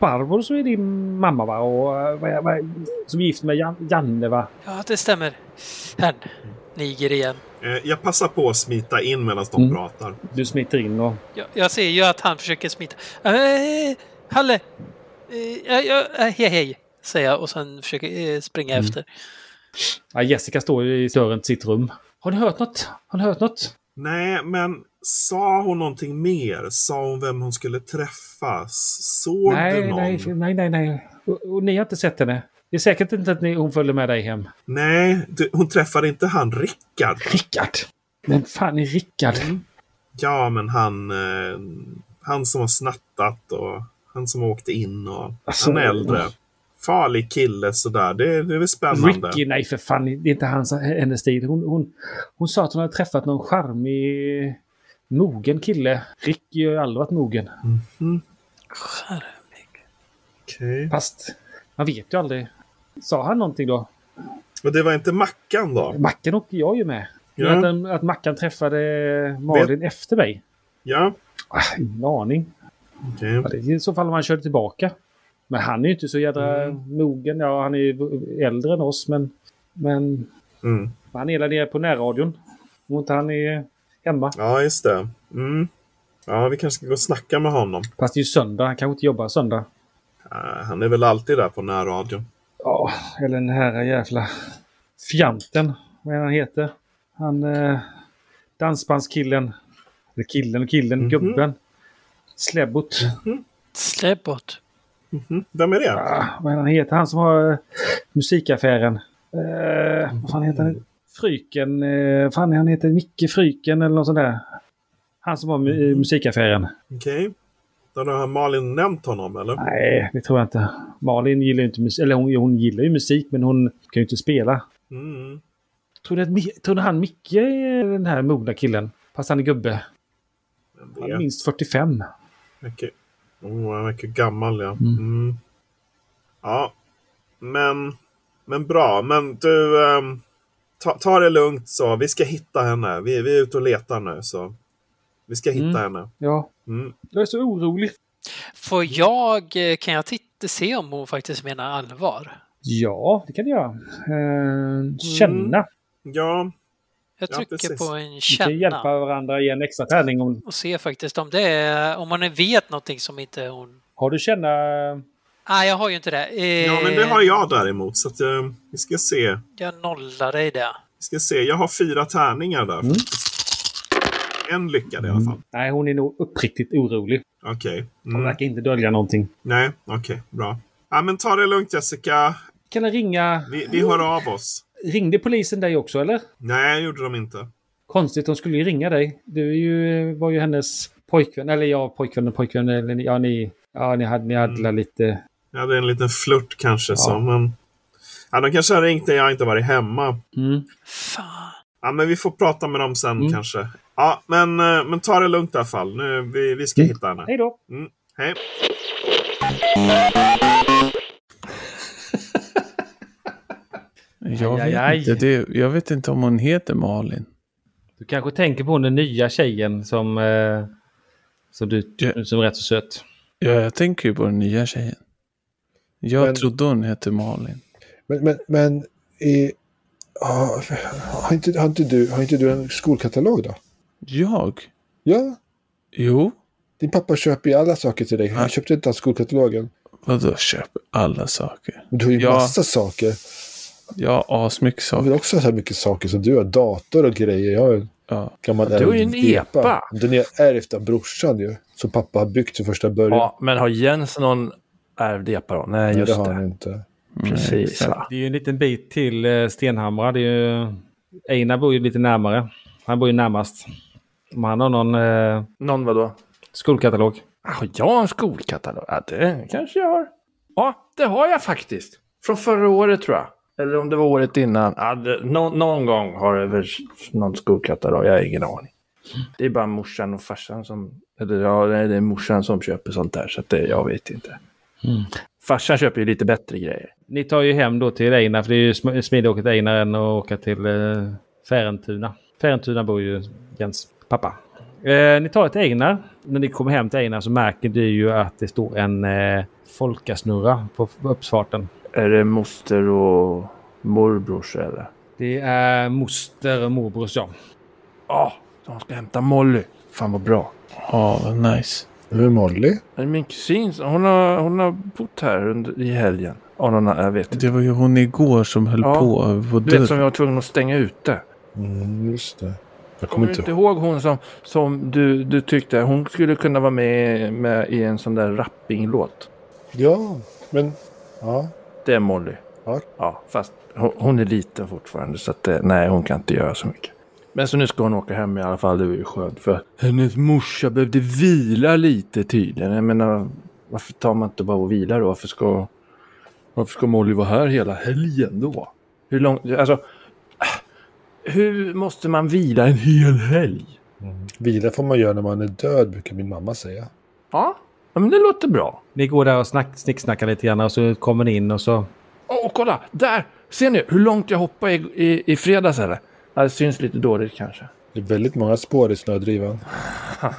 Speaker 2: Barbro eh, som är din mamma va? Och, eh, vad- vad- som är gift med Jan, Janne va?
Speaker 8: Ja, det stämmer. Hen. Niger igen.
Speaker 7: Eh, jag passar på att smita in medan de
Speaker 2: Mm.
Speaker 7: pratar.
Speaker 2: Du smiter in och
Speaker 8: Jag, jag ser ju att han försöker smita. Eh, Halle! Eh, ja, ja, eh, hej, hej, säger jag och sen försöker eh, springa
Speaker 2: Mm.
Speaker 8: efter.
Speaker 2: Ja, Jessica står ju i dörren till sitt rum. Har ni hört något? Har ni hört något?
Speaker 7: Nej, men sa hon någonting mer? Sa hon vem hon skulle träffa? Såg du
Speaker 2: Nej,
Speaker 7: någon?
Speaker 2: nej, nej, nej, nej. Och, och ni har inte sett henne. Det är säkert inte att ni, hon följde med dig hem.
Speaker 7: Nej, du, hon träffade inte han Rickard.
Speaker 2: Rickard! Vem fan är Rickard?
Speaker 7: Ja, men han, eh, han som har snattat och han som åkte in och
Speaker 2: Alltså,
Speaker 7: han är äldre. Farlig kille sådär. Det, det är väl spännande.
Speaker 2: Ricky, nej för fan, det är inte hans, hennes stil. Hon, hon, hon sa att hon hade träffat någon charmig, eh, mogen kille. Ricky har ju aldrig varit mogen.
Speaker 8: Charmig.
Speaker 7: Okej.
Speaker 2: Fast man vet ju aldrig. Sa han någonting då?
Speaker 7: Och det var inte Mackan då?
Speaker 2: Mackan och jag är ju med.
Speaker 7: Ja.
Speaker 2: Att, den- att Mackan träffade Malin efter mig?
Speaker 7: Ja,
Speaker 2: Ah, ingen aning.
Speaker 7: okej.
Speaker 2: Ja, det är I så fall om han körde tillbaka. Men han är ju inte så jädra mogen. Ja, han är ju äldre än oss, men... Men
Speaker 7: Mm.
Speaker 2: han är där nere på närradion. Om inte han är hemma.
Speaker 7: Ja, just det. Mm. Ja, vi kanske ska gå och snacka med honom.
Speaker 2: Fast det är ju söndag. Han kanske inte jobbar söndag.
Speaker 7: Eh, han är väl alltid där på närradion.
Speaker 2: Ja, eller den här jävla fjanten. Vad är han heter? Han eh, dansbandskillen. Eller killen och killen, gubben. Slebbot.
Speaker 8: Släpp bort.
Speaker 7: Mm. Vem är det?
Speaker 2: Ah, vad är han heter? Han som har eh, musikaffären. Eh, vad fan heter han? Fryken. Eh, fan, han heter Micke Fryken eller något sånt där. Han som har mu- musikaffären.
Speaker 7: Okej. Då har Malin nämnt honom, eller?
Speaker 2: Nej, det tror jag inte. Malin gillar ju inte musik. Eller hon, hon gillar ju musik, men hon kan ju inte spela.
Speaker 7: Mm.
Speaker 2: Tror du, att, Mi- tror du han Micke är den här mogna killen? Fast han är gubbe.
Speaker 7: Men
Speaker 2: Han är
Speaker 7: det
Speaker 2: minst 45.
Speaker 7: verkar... Oh, han verkar gammal, ja. Mm. Ja. Men... Men bra. Men du... ehm, ta, ta det lugnt så. Vi ska hitta henne. Vi, vi är ute och letar nu, så... Vi ska hitta
Speaker 2: Mm.
Speaker 7: henne.
Speaker 2: Ja.
Speaker 7: Mm.
Speaker 2: Jag är så orolig.
Speaker 8: Får jag, eh, kan jag titta, se om hon faktiskt menar allvar?
Speaker 2: Ja, det kan jag göra.
Speaker 7: Mm.
Speaker 2: Eh, känna.
Speaker 7: Ja.
Speaker 8: Jag
Speaker 7: Ja,
Speaker 8: trycker
Speaker 7: precis.
Speaker 8: på en
Speaker 2: Vi kan hjälpa
Speaker 8: känna
Speaker 2: varandra i en extra tärning om
Speaker 8: och se faktiskt om det är, om man vet någonting som inte hon...
Speaker 2: Har du känna...
Speaker 8: Nej, jag har ju inte det. Eh,
Speaker 7: Ja, men det har jag däremot. Så att, eh, vi ska se.
Speaker 8: Jag nollar dig det.
Speaker 7: Vi ska se, jag har fyra tärningar där faktiskt. En lyckad i alla fall.
Speaker 2: Nej, hon är nog uppriktigt orolig.
Speaker 7: Okej.
Speaker 2: Hon
Speaker 7: Mm.
Speaker 2: verkar inte dölja någonting.
Speaker 7: Nej, okej, bra. Ja, men ta det lugnt Jessica.
Speaker 2: Kan jag ringa...
Speaker 7: Vi, vi hör av oss.
Speaker 2: Ringde polisen dig också, eller?
Speaker 7: Nej, gjorde de inte.
Speaker 2: Konstigt, de skulle ju ringa dig. Du är ju, var ju hennes pojkvän, eller ja, pojkvän och pojkvän, eller ni- ja, ni... Ja, ni hade, ni
Speaker 7: Mm.
Speaker 2: hade lite...
Speaker 7: Jag hade en liten flört kanske. Så, men... ja, de kanske har ringt när jag inte varit hemma.
Speaker 2: Mm.
Speaker 8: Fan.
Speaker 7: Ja, men vi får prata med dem sen
Speaker 2: Mm.
Speaker 7: kanske. Ja, men, eh, men ta det lugnt i alla fall. Nu, vi, vi ska hitta henne.
Speaker 2: Hej då!
Speaker 7: Mm. Hej.
Speaker 2: Aj,
Speaker 3: Jag
Speaker 2: aj,
Speaker 3: vet,
Speaker 2: aj.
Speaker 3: Inte, det, jag vet inte om hon heter Malin.
Speaker 2: Du kanske tänker på den nya tjejen som... Eh, som du...
Speaker 3: Ja.
Speaker 2: Som är rätt så söt.
Speaker 3: Ja, jag tänker ju på den nya tjejen. Jag
Speaker 5: Men-
Speaker 3: trodde hon hette Malin.
Speaker 5: Men, men, men i, ja, har, inte, har, inte du, har inte du en skolkatalog då?
Speaker 3: Jag?
Speaker 5: Ja,
Speaker 3: Jo.
Speaker 5: din pappa köper ju alla saker till dig. Han
Speaker 3: Ja.
Speaker 5: köpte inte alls skolkatalogen.
Speaker 3: Vadå köper alla saker?
Speaker 5: Men du har ju
Speaker 3: Ja.
Speaker 5: massa saker.
Speaker 3: Jag har asmycket
Speaker 5: Jag
Speaker 3: saker.
Speaker 5: vill också ha så här mycket saker som du har. Dator och grejer. Jag har en
Speaker 3: Ja.
Speaker 5: gammal
Speaker 4: Du har ju
Speaker 5: ärvd
Speaker 4: en epa.
Speaker 5: Den är ärvt av brorsan ju. Som pappa har byggt från första början.
Speaker 4: Ja, men har Jens någon ärvd epa då? Nej,
Speaker 5: Nej,
Speaker 4: just
Speaker 5: det har
Speaker 4: det.
Speaker 5: han inte.
Speaker 4: Precis. va.
Speaker 2: Det är ju en liten bit till eh, Stenhamra. Det är ju... Einar bor ju lite närmare. Han bor ju närmast. Om han har någon eh,
Speaker 4: Någon vadå?
Speaker 2: skolkatalog.
Speaker 4: Har jag en skolkatalog? Ja, det kanske jag har. Ja, det har jag faktiskt. Från förra året tror jag. Eller om det var året innan. Ja, det, nå- någon gång har jag väl någon skolkatalog. Jag har ingen aning. Det är bara morsan och farsan som... Eller ja, nej, det är morsan som köper sånt där. Så att det, jag vet inte. Farsan köper ju lite bättre grejer.
Speaker 2: Ni tar ju hem då till Einar, för det är ju sm- smidigare att åka till Einar än att åka till eh, Färentuna. Färentuna bor ju Jens pappa. Eh, ni tar ett Einar. När ni kommer hem till Einar så märker du ju att det står en eh, folkasnurra på f- uppfarten.
Speaker 4: Är det moster och morbrors eller?
Speaker 2: Det är moster och morbrors ja.
Speaker 4: Ja, de ska hämta Molly. Fan vad bra.
Speaker 3: Ja, vad nice.
Speaker 5: Nu är Molly.
Speaker 4: Men Min kusin, hon har, hon har bott här under, i helgen. Av någon, jag vet inte.
Speaker 3: Det var ju hon igår som höll
Speaker 4: Ja,
Speaker 3: på
Speaker 4: Du
Speaker 3: på
Speaker 4: vet som
Speaker 3: dörren.
Speaker 4: jag var tvungen att stänga ute.
Speaker 5: Mm, just det. Jag
Speaker 4: Kommer
Speaker 5: kommer
Speaker 4: du inte
Speaker 5: inte
Speaker 4: ihåg
Speaker 5: ihåg.
Speaker 4: hon som, som du, du tyckte hon skulle kunna vara med, med i en sån där rappinglåt?
Speaker 5: Ja, men... Ja.
Speaker 4: Det är Molly.
Speaker 5: Ja.
Speaker 4: Ja, fast hon, hon är liten fortfarande så att det, nej, hon kan inte göra så mycket. Men så nu ska hon åka hem i alla fall, det var ju skönt för hennes morsa behövde vila lite tydligen. Jag menar, varför tar man inte bara och vilar då? Varför ska, varför ska Molly vara här hela helgen då? Hur långt, alltså, äh, hur måste man vila en hel helg?
Speaker 5: Vila får man göra när man är död, brukar min mamma säga.
Speaker 4: Ja, ja, men det låter bra.
Speaker 2: Ni går där och snack, snicksnackar lite grann och så kommer ni in och så...
Speaker 4: Åh, och kolla! Där! Ser ni hur långt jag hoppade i, i, i fredags eller? Ja, det syns lite dåligt kanske.
Speaker 5: Det är väldigt många spår i snödrivan.
Speaker 4: Ja,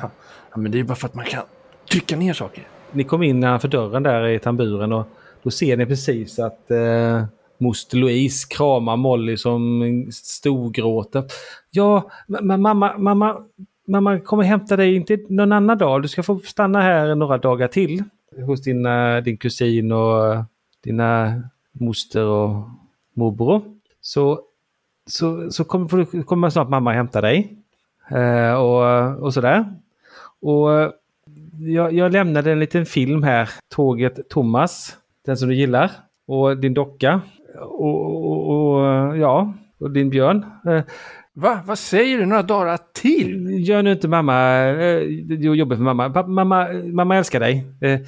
Speaker 4: men det är bara för att man kan trycka ner saker.
Speaker 2: Ni kom in för dörren där i tamburen och då ser ni precis att eh, moster Louise kramar Molly som storgråter. Ja, ma- ma- mamma, mamma, mamma kommer hämta dig inte någon annan dag. Du ska få stanna här några dagar till hos dina, din kusin och eh, dina moster och morbror. Så, så, så kommer, får du- kommer snart mamma hämta dig. Eh, och, och sådär. Och eh, jag, jag lämnade en liten film här. Tåget Thomas. Den som du gillar. Och din docka. Och, och, och ja, och din björn. Eh,
Speaker 4: Va? Vad säger du? Några dagar till?
Speaker 2: Gör nu inte mamma eh, jo, jobbigt för mamma. Pappa, mamma. Mamma älskar dig. Eh,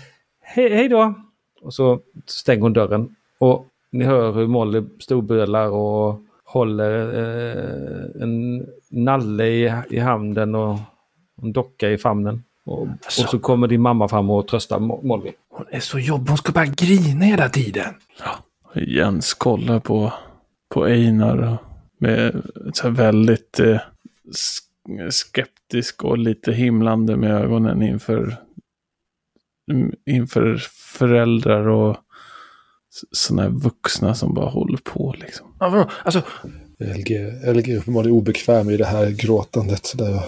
Speaker 2: hej, hej då! Och så stänger hon dörren. Och ni hör hur Molly storbölar och håller eh, en nalle i, i handen och en docka i famnen. Och, och så kommer din mamma fram och tröstar Mo- Molly.
Speaker 4: Hon är så jobbig. Hon ska bara grina hela tiden.
Speaker 3: Jens kollar på, på Einar och med så här väldigt eh, sk- skeptisk och lite himlande med ögonen inför, mm, inför föräldrar och sådana här vuxna som bara håller på liksom.
Speaker 4: Ja, vadå? Alltså,
Speaker 5: LG, LG är uppenbarligen obekväm i det här gråtandet. Så där jag...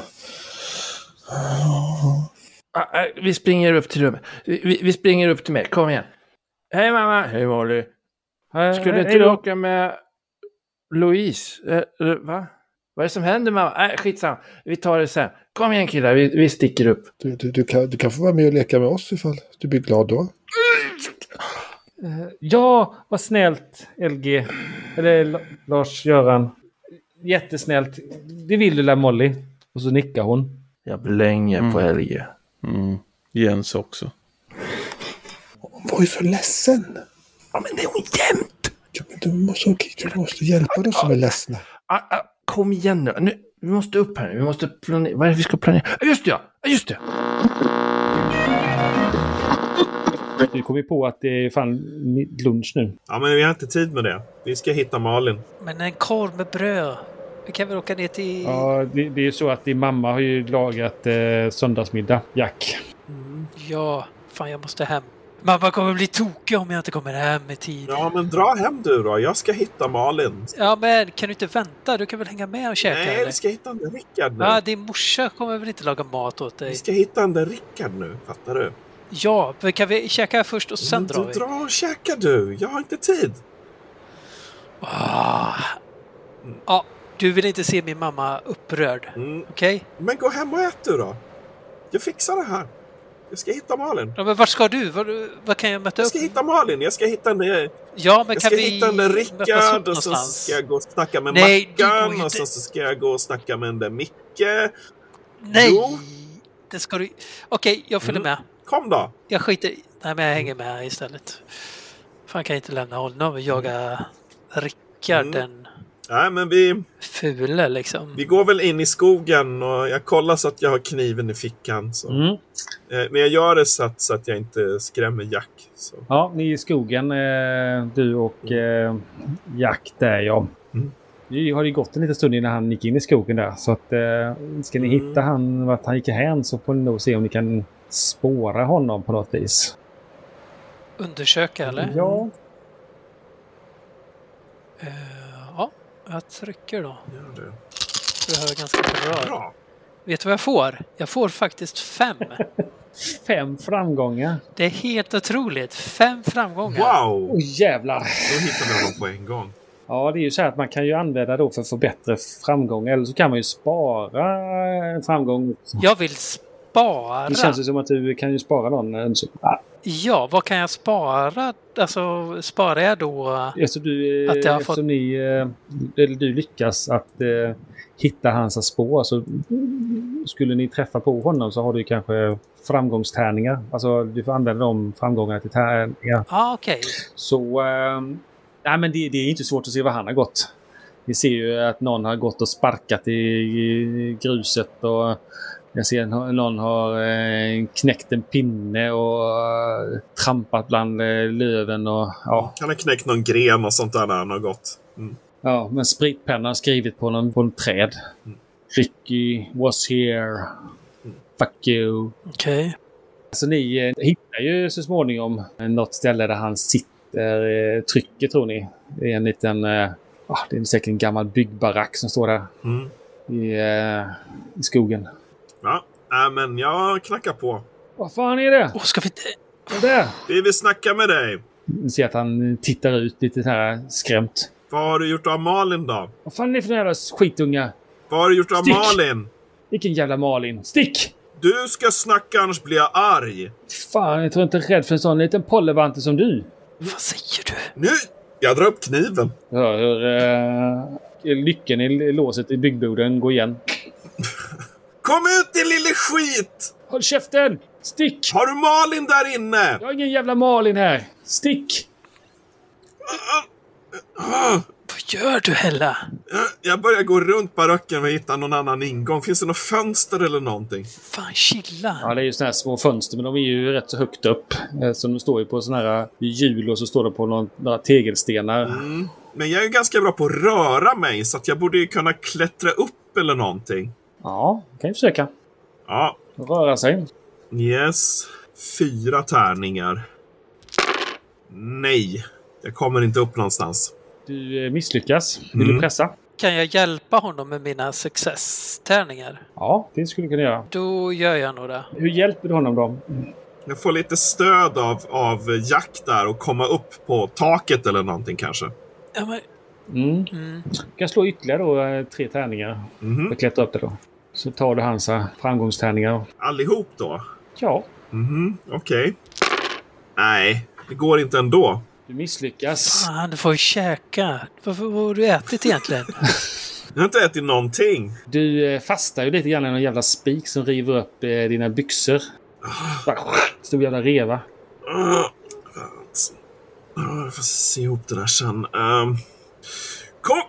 Speaker 4: ä- ä, ah, vi springer upp till rummet. Vi, vi- vi springer upp till mig. Kom igen. Hej mamma! Hej Molly!
Speaker 2: Eh,
Speaker 4: Eh, Skulle inte du åka med Louise? Eh, eller va? Vad är det som händer mamma? Äh, skitsamma. Vi tar det sen. Kom igen killar, vi, vi sticker upp.
Speaker 5: du, du, du, kan, du kan få vara med och leka med oss ifall du blir glad då.
Speaker 2: Ja, vad snällt LG. Eller L- Lars-Göran. Jättesnällt. Det vill du lär Molly. Och så nickar hon.
Speaker 4: Jag blänger på LG.
Speaker 3: Mm. Jens också.
Speaker 5: Hon var ju så ledsen.
Speaker 4: Ja, men det är hon jämt!
Speaker 5: Ja, men du, måste, du måste hjälpa de som är ledsna.
Speaker 4: Ah, ah, kom igen nu. nu. Vi måste upp här nu. Vi måste planera. Vad är det vi ska planera? Ah, Just det, ja! Ah, Just det!
Speaker 2: Du kommer ju på att det är fan lunch nu.
Speaker 7: Ja, men vi har inte tid med det. Vi ska hitta Malin.
Speaker 8: Men en korv med bröd. Vi kan väl åka ner till...
Speaker 2: Ja, det, det är ju så att din mamma har ju lagat eh, söndagsmiddag, Jack.
Speaker 8: Mm, ja. Fan, jag måste hem. Mamma kommer bli tokig om jag inte kommer hem i tid.
Speaker 7: Ja, men dra hem du då. Jag ska hitta Malin.
Speaker 8: Ja, men kan du inte vänta? Du kan väl hänga med och käka?
Speaker 7: Nej,
Speaker 8: eller?
Speaker 7: vi ska hitta den där Rickard nu.
Speaker 8: Ja, din morsa kommer väl inte laga mat åt
Speaker 7: Vi
Speaker 8: dig?
Speaker 7: ska hitta den där Rickard nu, fattar du?
Speaker 8: Ja, men kan vi käka först och sen
Speaker 7: Men
Speaker 8: drar vi?
Speaker 7: Mm, du, dra och käka du. Jag har inte tid.
Speaker 8: Ah. Ja, du vill inte se min mamma upprörd,
Speaker 7: Mm.
Speaker 8: okej?
Speaker 7: Men gå hem och ät du då. Jag fixar det här. Jag ska hitta Malin.
Speaker 8: Ja, men vart ska du? Var, vad kan jag möta
Speaker 7: Jag
Speaker 8: upp?
Speaker 7: ska hitta Malin. Jag ska hitta eh, den där...
Speaker 8: Ja, men
Speaker 7: Jag
Speaker 8: kan
Speaker 7: ska
Speaker 8: vi
Speaker 7: hitta den där
Speaker 8: mötas upp
Speaker 7: Rickard och så
Speaker 8: någonstans?
Speaker 7: ska jag gå och snacka med
Speaker 8: Nej, du går
Speaker 7: Mackan
Speaker 8: ju
Speaker 7: och
Speaker 8: inte-
Speaker 7: så så ska jag gå och snacka med den där Micke.
Speaker 8: Nej!
Speaker 7: Jo. Mm.
Speaker 8: Det ska du... Okej, jag följer med.
Speaker 7: Kom då!
Speaker 8: Jag skiter i- Nej, men jag hänger med istället. Fan, kan jag inte lämna honom och jaga Rickard
Speaker 7: Mm.
Speaker 8: den
Speaker 7: Nej, men vi,
Speaker 8: fule liksom.
Speaker 7: vi går väl in i skogen och jag kollar så att jag har kniven i fickan. Så.
Speaker 2: Mm.
Speaker 7: Eh, Men jag gör det så att, så att jag inte skrämmer Jack. Så.
Speaker 2: Ja, ni är i skogen, eh, du och eh, Jack där ja.
Speaker 7: Mm.
Speaker 2: Det har ju gått en liten stund innan han gick in i skogen där. Så att, eh, ska ni
Speaker 7: Mm.
Speaker 2: hitta han, vart han gick hän så får ni nog se om ni kan spåra honom på något vis.
Speaker 8: Undersöka, eller?
Speaker 2: Ja.
Speaker 8: Eh, ja, jag trycker då.
Speaker 7: Gör det.
Speaker 8: Du hör ganska bra.
Speaker 7: Bra!
Speaker 8: Vet du vad jag får? Jag får
Speaker 7: (laughs)
Speaker 8: faktiskt fem.
Speaker 2: Fem framgångar.
Speaker 8: Det är helt otroligt. Fem framgångar.
Speaker 7: Wow!
Speaker 2: Åh jävlar!
Speaker 7: Då hittar vi honom på en gång.
Speaker 2: Ja, det är ju så här att man kan ju använda då för att få bättre framgång. Eller så kan man ju spara en framgång.
Speaker 8: Jag vill spara.
Speaker 2: Det känns ju som att du kan ju spara någon. en så- Ah,
Speaker 8: Ja, vad kan jag spara? Alltså, sparar jag då?
Speaker 2: Eftersom du,
Speaker 8: Att jag har
Speaker 2: eftersom ni, eh, eller du lyckas att eh, hitta hans spår så skulle ni träffa på honom så har du kanske framgångstärningar. Alltså du får använda de framgångarna till tärningar.
Speaker 8: Ja, ah, okej.
Speaker 2: Så... ehm, nej, men det, det är inte svårt att se vad han har gått. Ni ser ju att någon har gått och sparkat i, i gruset och jag ser nå- någon har eh, knäckt en pinne och eh, trampat bland eh, löven och ja.
Speaker 7: Han har knäckt någon gren och sånt där när han har gått. Mm.
Speaker 2: Ja, men spritpennan har skrivit på någon på en träd. Ricky was here. Fuck you.
Speaker 8: Okej.
Speaker 2: Så ni eh, hittar ju så småningom något ställe där han sitter, eh, trycker tror ni. Det är en liten, eh, ah, det är säkert en gammal byggbarack som står där
Speaker 7: Mm.
Speaker 2: i, eh, i skogen.
Speaker 7: Ja, äh, men jag knackar på.
Speaker 2: Vad fan är det?
Speaker 8: Åh, ska vi inte...
Speaker 2: Vad är det?
Speaker 7: Vi vill snacka med dig.
Speaker 2: Ni ser att han tittar ut lite så här skrämt.
Speaker 7: Vad har du gjort av Malin då?
Speaker 2: Vad fan är det för jävla skitunga?
Speaker 7: Vad har du gjort av
Speaker 2: Stick!
Speaker 7: Malin?
Speaker 2: Vilken jävla Malin. Stick!
Speaker 7: Du ska snacka annars blir jag arg.
Speaker 2: Fan, jag tror inte jag är rädd för en sån liten pollevante som du.
Speaker 8: Vad säger du?
Speaker 7: Nu! Jag drar upp kniven.
Speaker 2: Jag hör hur eh, lyckan i låset i byggboden går igen.
Speaker 7: Kom ut din lille skit!
Speaker 2: Håll käften! Stick!
Speaker 7: Har du Malin där inne?
Speaker 2: Jag har ingen jävla Malin här! Stick!
Speaker 8: Vad gör du, Hella?
Speaker 7: Jag- Jag börjar gå runt baracken och hitta någon annan ingång. Finns det något fönster eller någonting?
Speaker 8: Fan, chilla.
Speaker 2: Ja, det är ju såna här små fönster, men de är ju rätt så högt upp. Eh, Så de står ju på såna här hjul och så står de på någon, några tegelstenar.
Speaker 7: Mm. Men jag är ju ganska bra på att röra mig så att jag borde ju kunna klättra upp eller någonting.
Speaker 2: Ja, kan ju försöka.
Speaker 7: Ja,
Speaker 2: Röra sig.
Speaker 7: yes. Fyra tärningar. Nej, jag kommer inte upp någonstans.
Speaker 2: Du eh, misslyckas. Vill du
Speaker 7: Mm.
Speaker 2: pressa?
Speaker 8: Kan jag hjälpa honom med mina success-tärningar?
Speaker 2: Ja, det skulle du kunna göra.
Speaker 8: Då gör jag nog det.
Speaker 2: Hur hjälper du honom då?
Speaker 7: Jag får lite stöd av, av Jack där och komma upp på taket eller någonting kanske.
Speaker 8: Ja, men,
Speaker 2: Mm.
Speaker 8: mm.
Speaker 2: Du kan slå ytterligare då, eh, tre tärningar
Speaker 7: Mhm.
Speaker 2: och klättra upp det då. Så tar du hans eh, framgångstärningar.
Speaker 7: Allihop då?
Speaker 2: Ja,
Speaker 7: Mhm, okej. Nej, det går inte ändå.
Speaker 2: du misslyckas.
Speaker 8: Fan, du får ju käka. Vad, vad, vad har du
Speaker 2: (laughs)
Speaker 8: ätit egentligen?
Speaker 7: Jag har inte ätit någonting.
Speaker 2: Du eh, fastar ju lite grann i någon jävla spik som river upp eh, dina byxor. Bara, Stor jävla reva.
Speaker 7: Ah, fan. Ah, Jag får se ihop det där sen. Ehm, kom!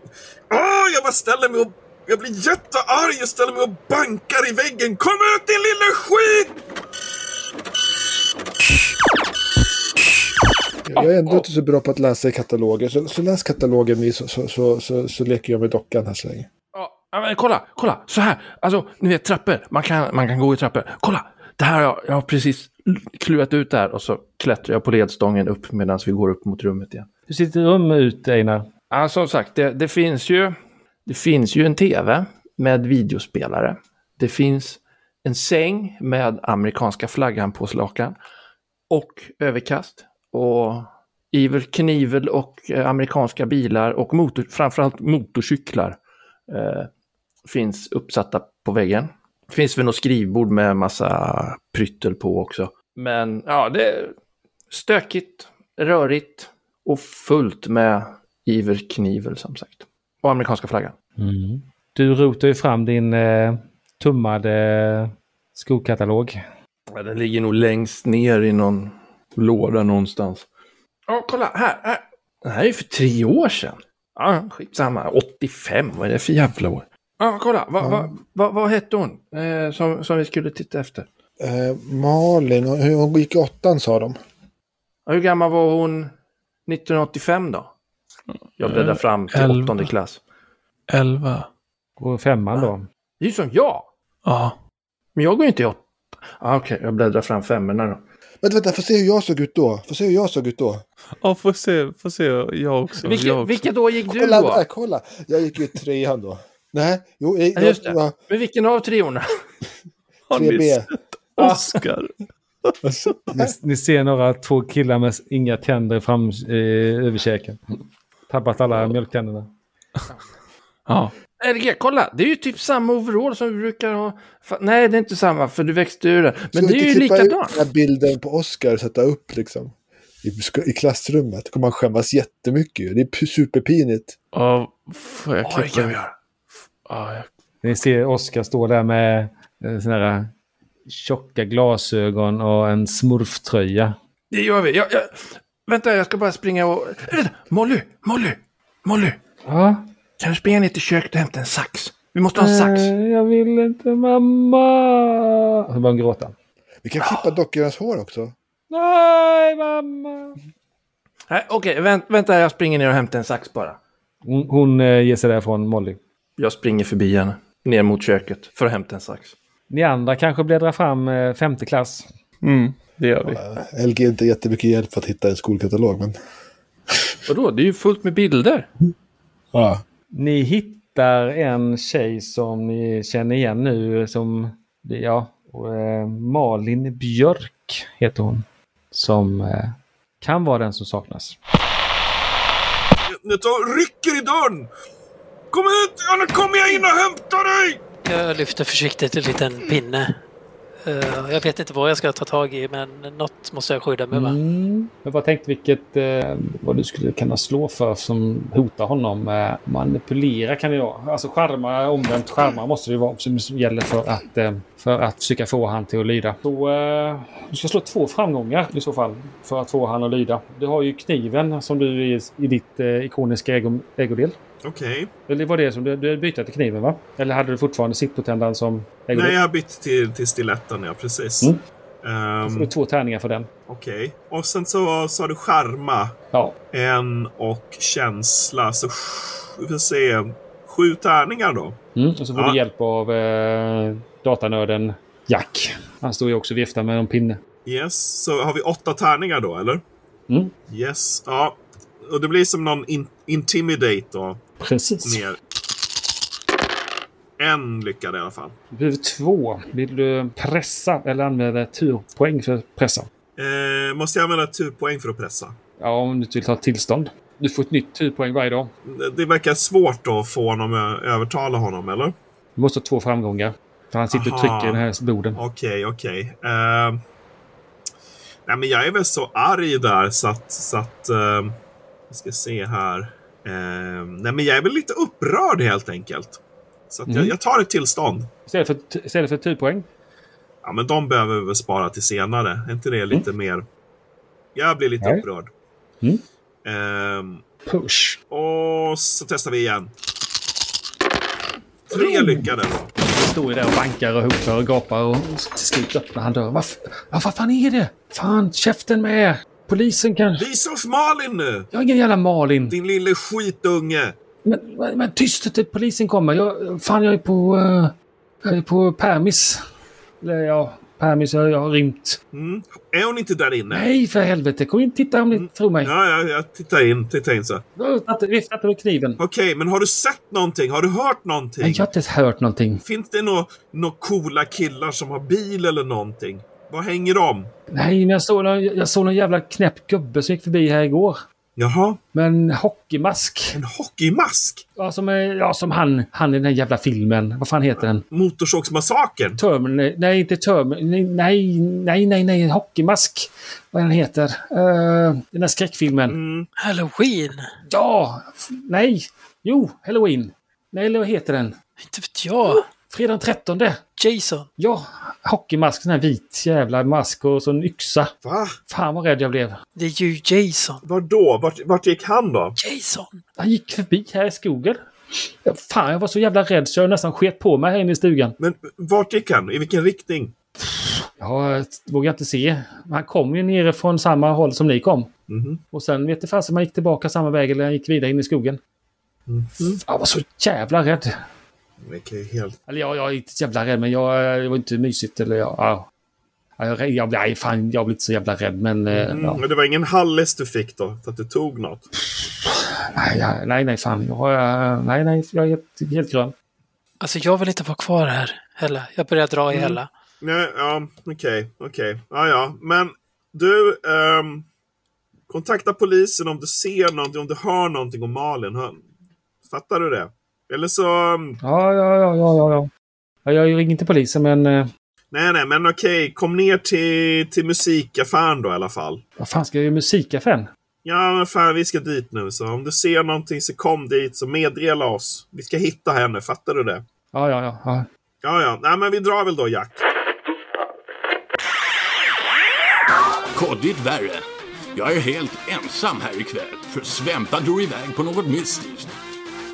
Speaker 7: Ah, jag bara ställer mig och... Jag blir jättearg och ställer mig och bankar i väggen. Kom ut din lille skit!
Speaker 5: Jag är ändå inte så bra på att läsa i kataloger. Så, så läs katalogen ni så, så, så, så, så leker jag med dockan här så länge.
Speaker 4: Ja, ja, Ah, men kolla, kolla, så här. Alltså, ni vet trappor. Man kan, man kan gå i trappor. Kolla, det här har jag, jag har precis klurat ut det här och så klättrar jag på ledstången upp medan vi går upp mot rummet igen.
Speaker 2: Du sitter i rum ut, Einar.
Speaker 4: Ja, som sagt, det, det finns ju, det finns ju en tv med videospelare. Det finns en säng med amerikanska flaggan på slakan och överkast och Iver knivel och eh, amerikanska bilar och motor, framförallt motorcyklar eh, finns uppsatta på väggen. Det finns väl något skrivbord med massa pryttel på också. Men ja, det är stökigt, rörigt och fullt med Iver knivel som sagt. Och amerikanska flaggan.
Speaker 2: Du rotar ju fram din eh, tummade skokatalog.
Speaker 4: Ja, den ligger nog längst ner i någon låda någonstans. Ja, kolla här, här. Den här är ju för tre år sedan. Ja, skitsamma. 85, vad är det för jävla år? Ja, kolla. Vad va, va, vad hette hon eh, som, som vi skulle titta efter?
Speaker 5: Eh, Malin, hon, hon gick i åttan sa de.
Speaker 4: Ja, hur gammal var hon 1985 då? Jag bläddrar fram till
Speaker 3: elva.
Speaker 4: åttonde klass.
Speaker 3: Elva.
Speaker 2: Går femman då.
Speaker 4: Det är ju som jag!
Speaker 3: Ja.
Speaker 4: Men jag går ju inte i åtta. Ah, Okej, jag bläddrar fram femmorna då.
Speaker 5: Vänta, vänta, får se hur jag såg ut då. Får se hur jag såg ut då.
Speaker 3: Ja, får se, får se. Jag också. jag
Speaker 4: Vilket,
Speaker 3: också.
Speaker 4: vilket år gick du
Speaker 5: Kolla
Speaker 4: då?
Speaker 5: där, kolla! Jag gick ju i trean då. Nej, jo, i,
Speaker 4: Ja, just det.
Speaker 5: va,
Speaker 4: Men vilken av triorna?
Speaker 3: Har ni
Speaker 5: 3B.
Speaker 3: sett Oscar?
Speaker 5: Alltså,
Speaker 2: Ni, ni ser några två killar med inga tänder fram eh, över käken. Tappat alla mjölktänderna.
Speaker 3: Ja.
Speaker 4: LG, kolla! Det är ju typ samma overall som vi brukar ha. Fa- Nej, det är inte samma, för du växte ur det. Men
Speaker 5: Ska
Speaker 4: det
Speaker 5: vi
Speaker 4: är ju
Speaker 5: inte klippa ut
Speaker 4: likadant.
Speaker 5: Den här bilden på Oscar och sätta upp liksom. I, sk- I klassrummet. Då kommer han skämmas jättemycket ju. Det är p- superpinigt.
Speaker 3: Ja, får jag
Speaker 4: Oj,
Speaker 3: klippa?
Speaker 4: oj, oj.
Speaker 3: Ja, jag-
Speaker 2: Ni ser Oskar stå där med eh, såna här tjocka glasögon och en smurftröja.
Speaker 4: Det gör vi. Jag, jag... Vänta, jag ska bara springa och... Vänta, Molly! Molly! Molly!
Speaker 2: Ja,
Speaker 4: Kan du springa ner till köket och hämta en sax? Vi måste ha en sax.
Speaker 2: Eh, Jag vill inte mamma. Och så börjar hon gråta.
Speaker 5: Vi kan
Speaker 4: Ah.
Speaker 5: klippa dockornas hår också.
Speaker 2: Nej mamma.
Speaker 4: Nej, Okej, vänt, vänta, jag springer ner och hämtar en sax bara.
Speaker 2: Hon, hon eh, ger sig därifrån Molly.
Speaker 4: Jag springer förbi henne, ner mot köket, för att hämta en sax.
Speaker 2: Ni andra kanske bläddrar fram eh, femte klass.
Speaker 3: Mm, det gör vi.
Speaker 5: Eh, LG är inte jättemycket hjälp för att hitta en skolkatalog, men...
Speaker 4: Vadå, det är ju fullt med bilder.
Speaker 5: Ja.
Speaker 2: Ni hittar en tjej som ni känner igen nu som, ja, och, eh, Malin Björk heter hon. Som eh, kan vara den som saknas.
Speaker 7: Nu tar, rycker i dörren! Kom ut! Ja, nu kommer jag in och hämtar dig!
Speaker 8: Jag lyfter försiktigt en liten pinne. Eh, jag vet inte vad jag ska ta tag i men något måste jag skydda mig med.
Speaker 2: Mm. Men vad tänkte vilket, eh, vad du skulle kunna slå för som hotar honom. Eh, manipulera kan det vara. Alltså charma, omvänt charma måste det ju vara som som gäller för att, eh, för att försöka få han till att lyda. Så, eh, du ska slå två framgångar i så fall för att få han att lyda. Du har ju kniven som du i, i ditt eh, ikoniska ägo, ägodel.
Speaker 7: Okej.
Speaker 2: Eller var det som du, du bytte till kniven va? Eller hade du fortfarande sittotändan som ägodel?
Speaker 7: Nej, jag har bytt till, till stiletten, ja. Precis.
Speaker 2: Mm.
Speaker 7: Ehm,
Speaker 2: Då får du två tärningar för den.
Speaker 7: Okej. Och sen så sa du charma.
Speaker 2: Ja,
Speaker 7: En och känsla. Så sj- vi får se. Sju tärningar då.
Speaker 2: Mm, och så får
Speaker 7: Ja.
Speaker 2: du hjälp av eh, datanörden Jack. Han står ju också och viftar med en pinne.
Speaker 7: Yes. Så har vi åtta tärningar då, eller?
Speaker 2: Mm.
Speaker 7: Yes. Ja. Och det blir som någon in- intimidate då.
Speaker 2: Precis.
Speaker 7: Ner. En lyckad i alla fall.
Speaker 2: Du behöver två. Vill du pressa eller använda turpoäng för att pressa?
Speaker 7: Eh, måste jag använda turpoäng för att pressa?
Speaker 2: Ja, om du inte vill ta tillstånd. Du får ett nytt turpoäng varje dag.
Speaker 7: Det verkar svårt då att få honom att övertala honom, eller?
Speaker 2: Du måste ha två framgångar. För han sitter och
Speaker 7: Aha.
Speaker 2: trycker i den här borden.
Speaker 7: Okej, okej. Ehm, nej, men jag är väl så arg där så att... Så att ehm, vi ska se här. Ehm, nej, men jag är väl lite upprörd helt enkelt. Så att
Speaker 2: Mm.
Speaker 7: jag, jag tar ett tillstånd.
Speaker 2: Istället för, istället för turpoäng.
Speaker 7: Ja, men de behöver vi väl spara till senare. Är inte det
Speaker 2: Mm.
Speaker 7: lite mer... Jag blir lite
Speaker 2: Nej.
Speaker 7: upprörd.
Speaker 2: Mm.
Speaker 7: Ehm,
Speaker 2: Push.
Speaker 7: och så testar vi igen. Tre lyckade då.
Speaker 2: Han står ju där och bankar och hotar och gapar och till slut öppnar han dörren. Varför? Ja, vad fan är det? Fan, käften med er! Polisen kanske?
Speaker 7: Visa oss Malin nu!
Speaker 2: Jag är ingen jävla Malin.
Speaker 7: Din lille skitunge!
Speaker 2: Men, men, men tyst till polisen kommer. Jag, fan, jag är på... eh, jag är på permis. Eller ja, permis. Jag, jag har rymt.
Speaker 7: Mm. Är hon inte där inne?
Speaker 2: Nej, för helvete. Kom in titta om ni inte tror mig.
Speaker 7: Ja, ja, jag tittar in. Tittar in så.
Speaker 2: Vifta inte- Vifta inte med kniven.
Speaker 7: Okej, men har du sett någonting? Har du hört någonting?
Speaker 2: Nej, Jag har inte hört någonting.
Speaker 7: Finns det några nå coola killar som har bil eller någonting? Vad hänger de?
Speaker 2: Nej, men jag såg någon, jag såg någon jävla knäpp gubbe som gick förbi här igår.
Speaker 7: Jaha,
Speaker 2: Med en hockeymask.
Speaker 7: en hockeymask?
Speaker 2: Ja, som, är- ja, som han, han i den här jävla filmen. Vad fan heter den?
Speaker 7: Motorsågsmassakern?
Speaker 2: Termin... Nej, inte Termin... Nej, nej, nej, nej, nej. En hockeymask. Vad den heter. Eh, den här skräckfilmen.
Speaker 7: Mm.
Speaker 8: Halloween?
Speaker 2: Ja! f- Nej! Jo, Halloween. Nej, eller vad heter den?
Speaker 8: Inte vet jag.
Speaker 2: Fredag den 13.
Speaker 8: Jason.
Speaker 2: Ja, hockeymask. Sån här vit jävla mask och så en yxa.
Speaker 7: Va?
Speaker 2: Fan vad rädd jag blev.
Speaker 8: Det är ju Jason.
Speaker 7: Var då? Vart, vart gick han då?
Speaker 8: Jason!
Speaker 2: Han gick förbi här i skogen. Ja, Fan, jag var så jävla rädd så jag nästan sket på mig här inne i stugan.
Speaker 7: Men vart gick han? I vilken riktning?
Speaker 2: Ja, jag vågar inte se. Han kom ju nere från samma håll som ni kom.
Speaker 7: Mhm.
Speaker 2: Och sen vet jag fast om han gick tillbaka samma väg eller han gick vidare in i skogen. Jag var så jävla rädd.
Speaker 7: Okej, helt...
Speaker 2: Eller ja, jag är inte så jävla rädd, men jag, det var inte mysigt. Eller jag, ja. Ja, jag, jag, jag, nej, fan, jag blir inte så jävla rädd, men... eh,
Speaker 7: Mm.
Speaker 2: Ja,
Speaker 7: Men det var ingen hallis du fick då? För att du tog något?
Speaker 2: nej, ja, nej, nej, fan. Jag, eh, nej, nej, jag är helt, helt grön.
Speaker 8: Alltså jag vill inte vara kvar här heller. Jag börjar dra i
Speaker 7: Mm.
Speaker 8: Hella.
Speaker 7: Nej, ja, okej, okej. Ja, ja. Men du, ehm, kontakta polisen om du ser någonting, om du hör någonting om Malin. Hör, fattar du det? Eller så... ehm,
Speaker 2: Ja, ja, ja, ja, ja, ja. ja jag ringer inte polisen, men... eh,
Speaker 7: Nej, nej, men okej. Kom ner till, till musikaffären då i alla fall.
Speaker 2: Vad fan ska jag göra i musikaffären?
Speaker 7: Ja, men fan, vi ska dit nu. Så om du ser någonting så kom dit, så meddela oss. Vi ska hitta henne, fattar du det?
Speaker 2: Ja, ja, ja, ja.
Speaker 7: Ja, ja. Nej, men vi drar väl då, Jack.
Speaker 1: Koddigt värre. Jag är helt ensam här ikväll, för Svempa drog iväg på något mystiskt.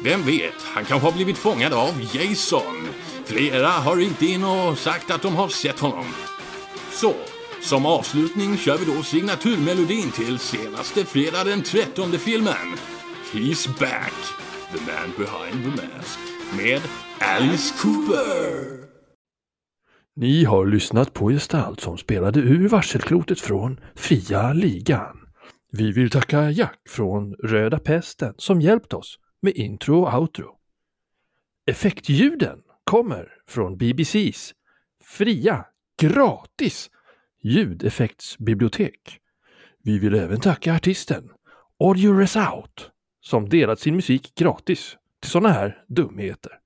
Speaker 1: Vem vet, han kanske har blivit fångad av Jason. Flera har ringt in och sagt att de har sett honom. Så, som avslutning kör vi då signaturmelodin till senaste fredag den 13 filmen. He's back, the man behind the mask, med Alice Cooper.
Speaker 4: Ni har lyssnat på Gestalt som spelade ur varselklotet från Fria Ligan. Vi vill tacka Jack från Röda Pesten som hjälpt oss med intro och outro. Effektljuden kommer från BBCs fria, gratis ljudeffektsbibliotek. Vi vill även tacka artisten Audio Resout som delat sin musik gratis till sådana här dumheter.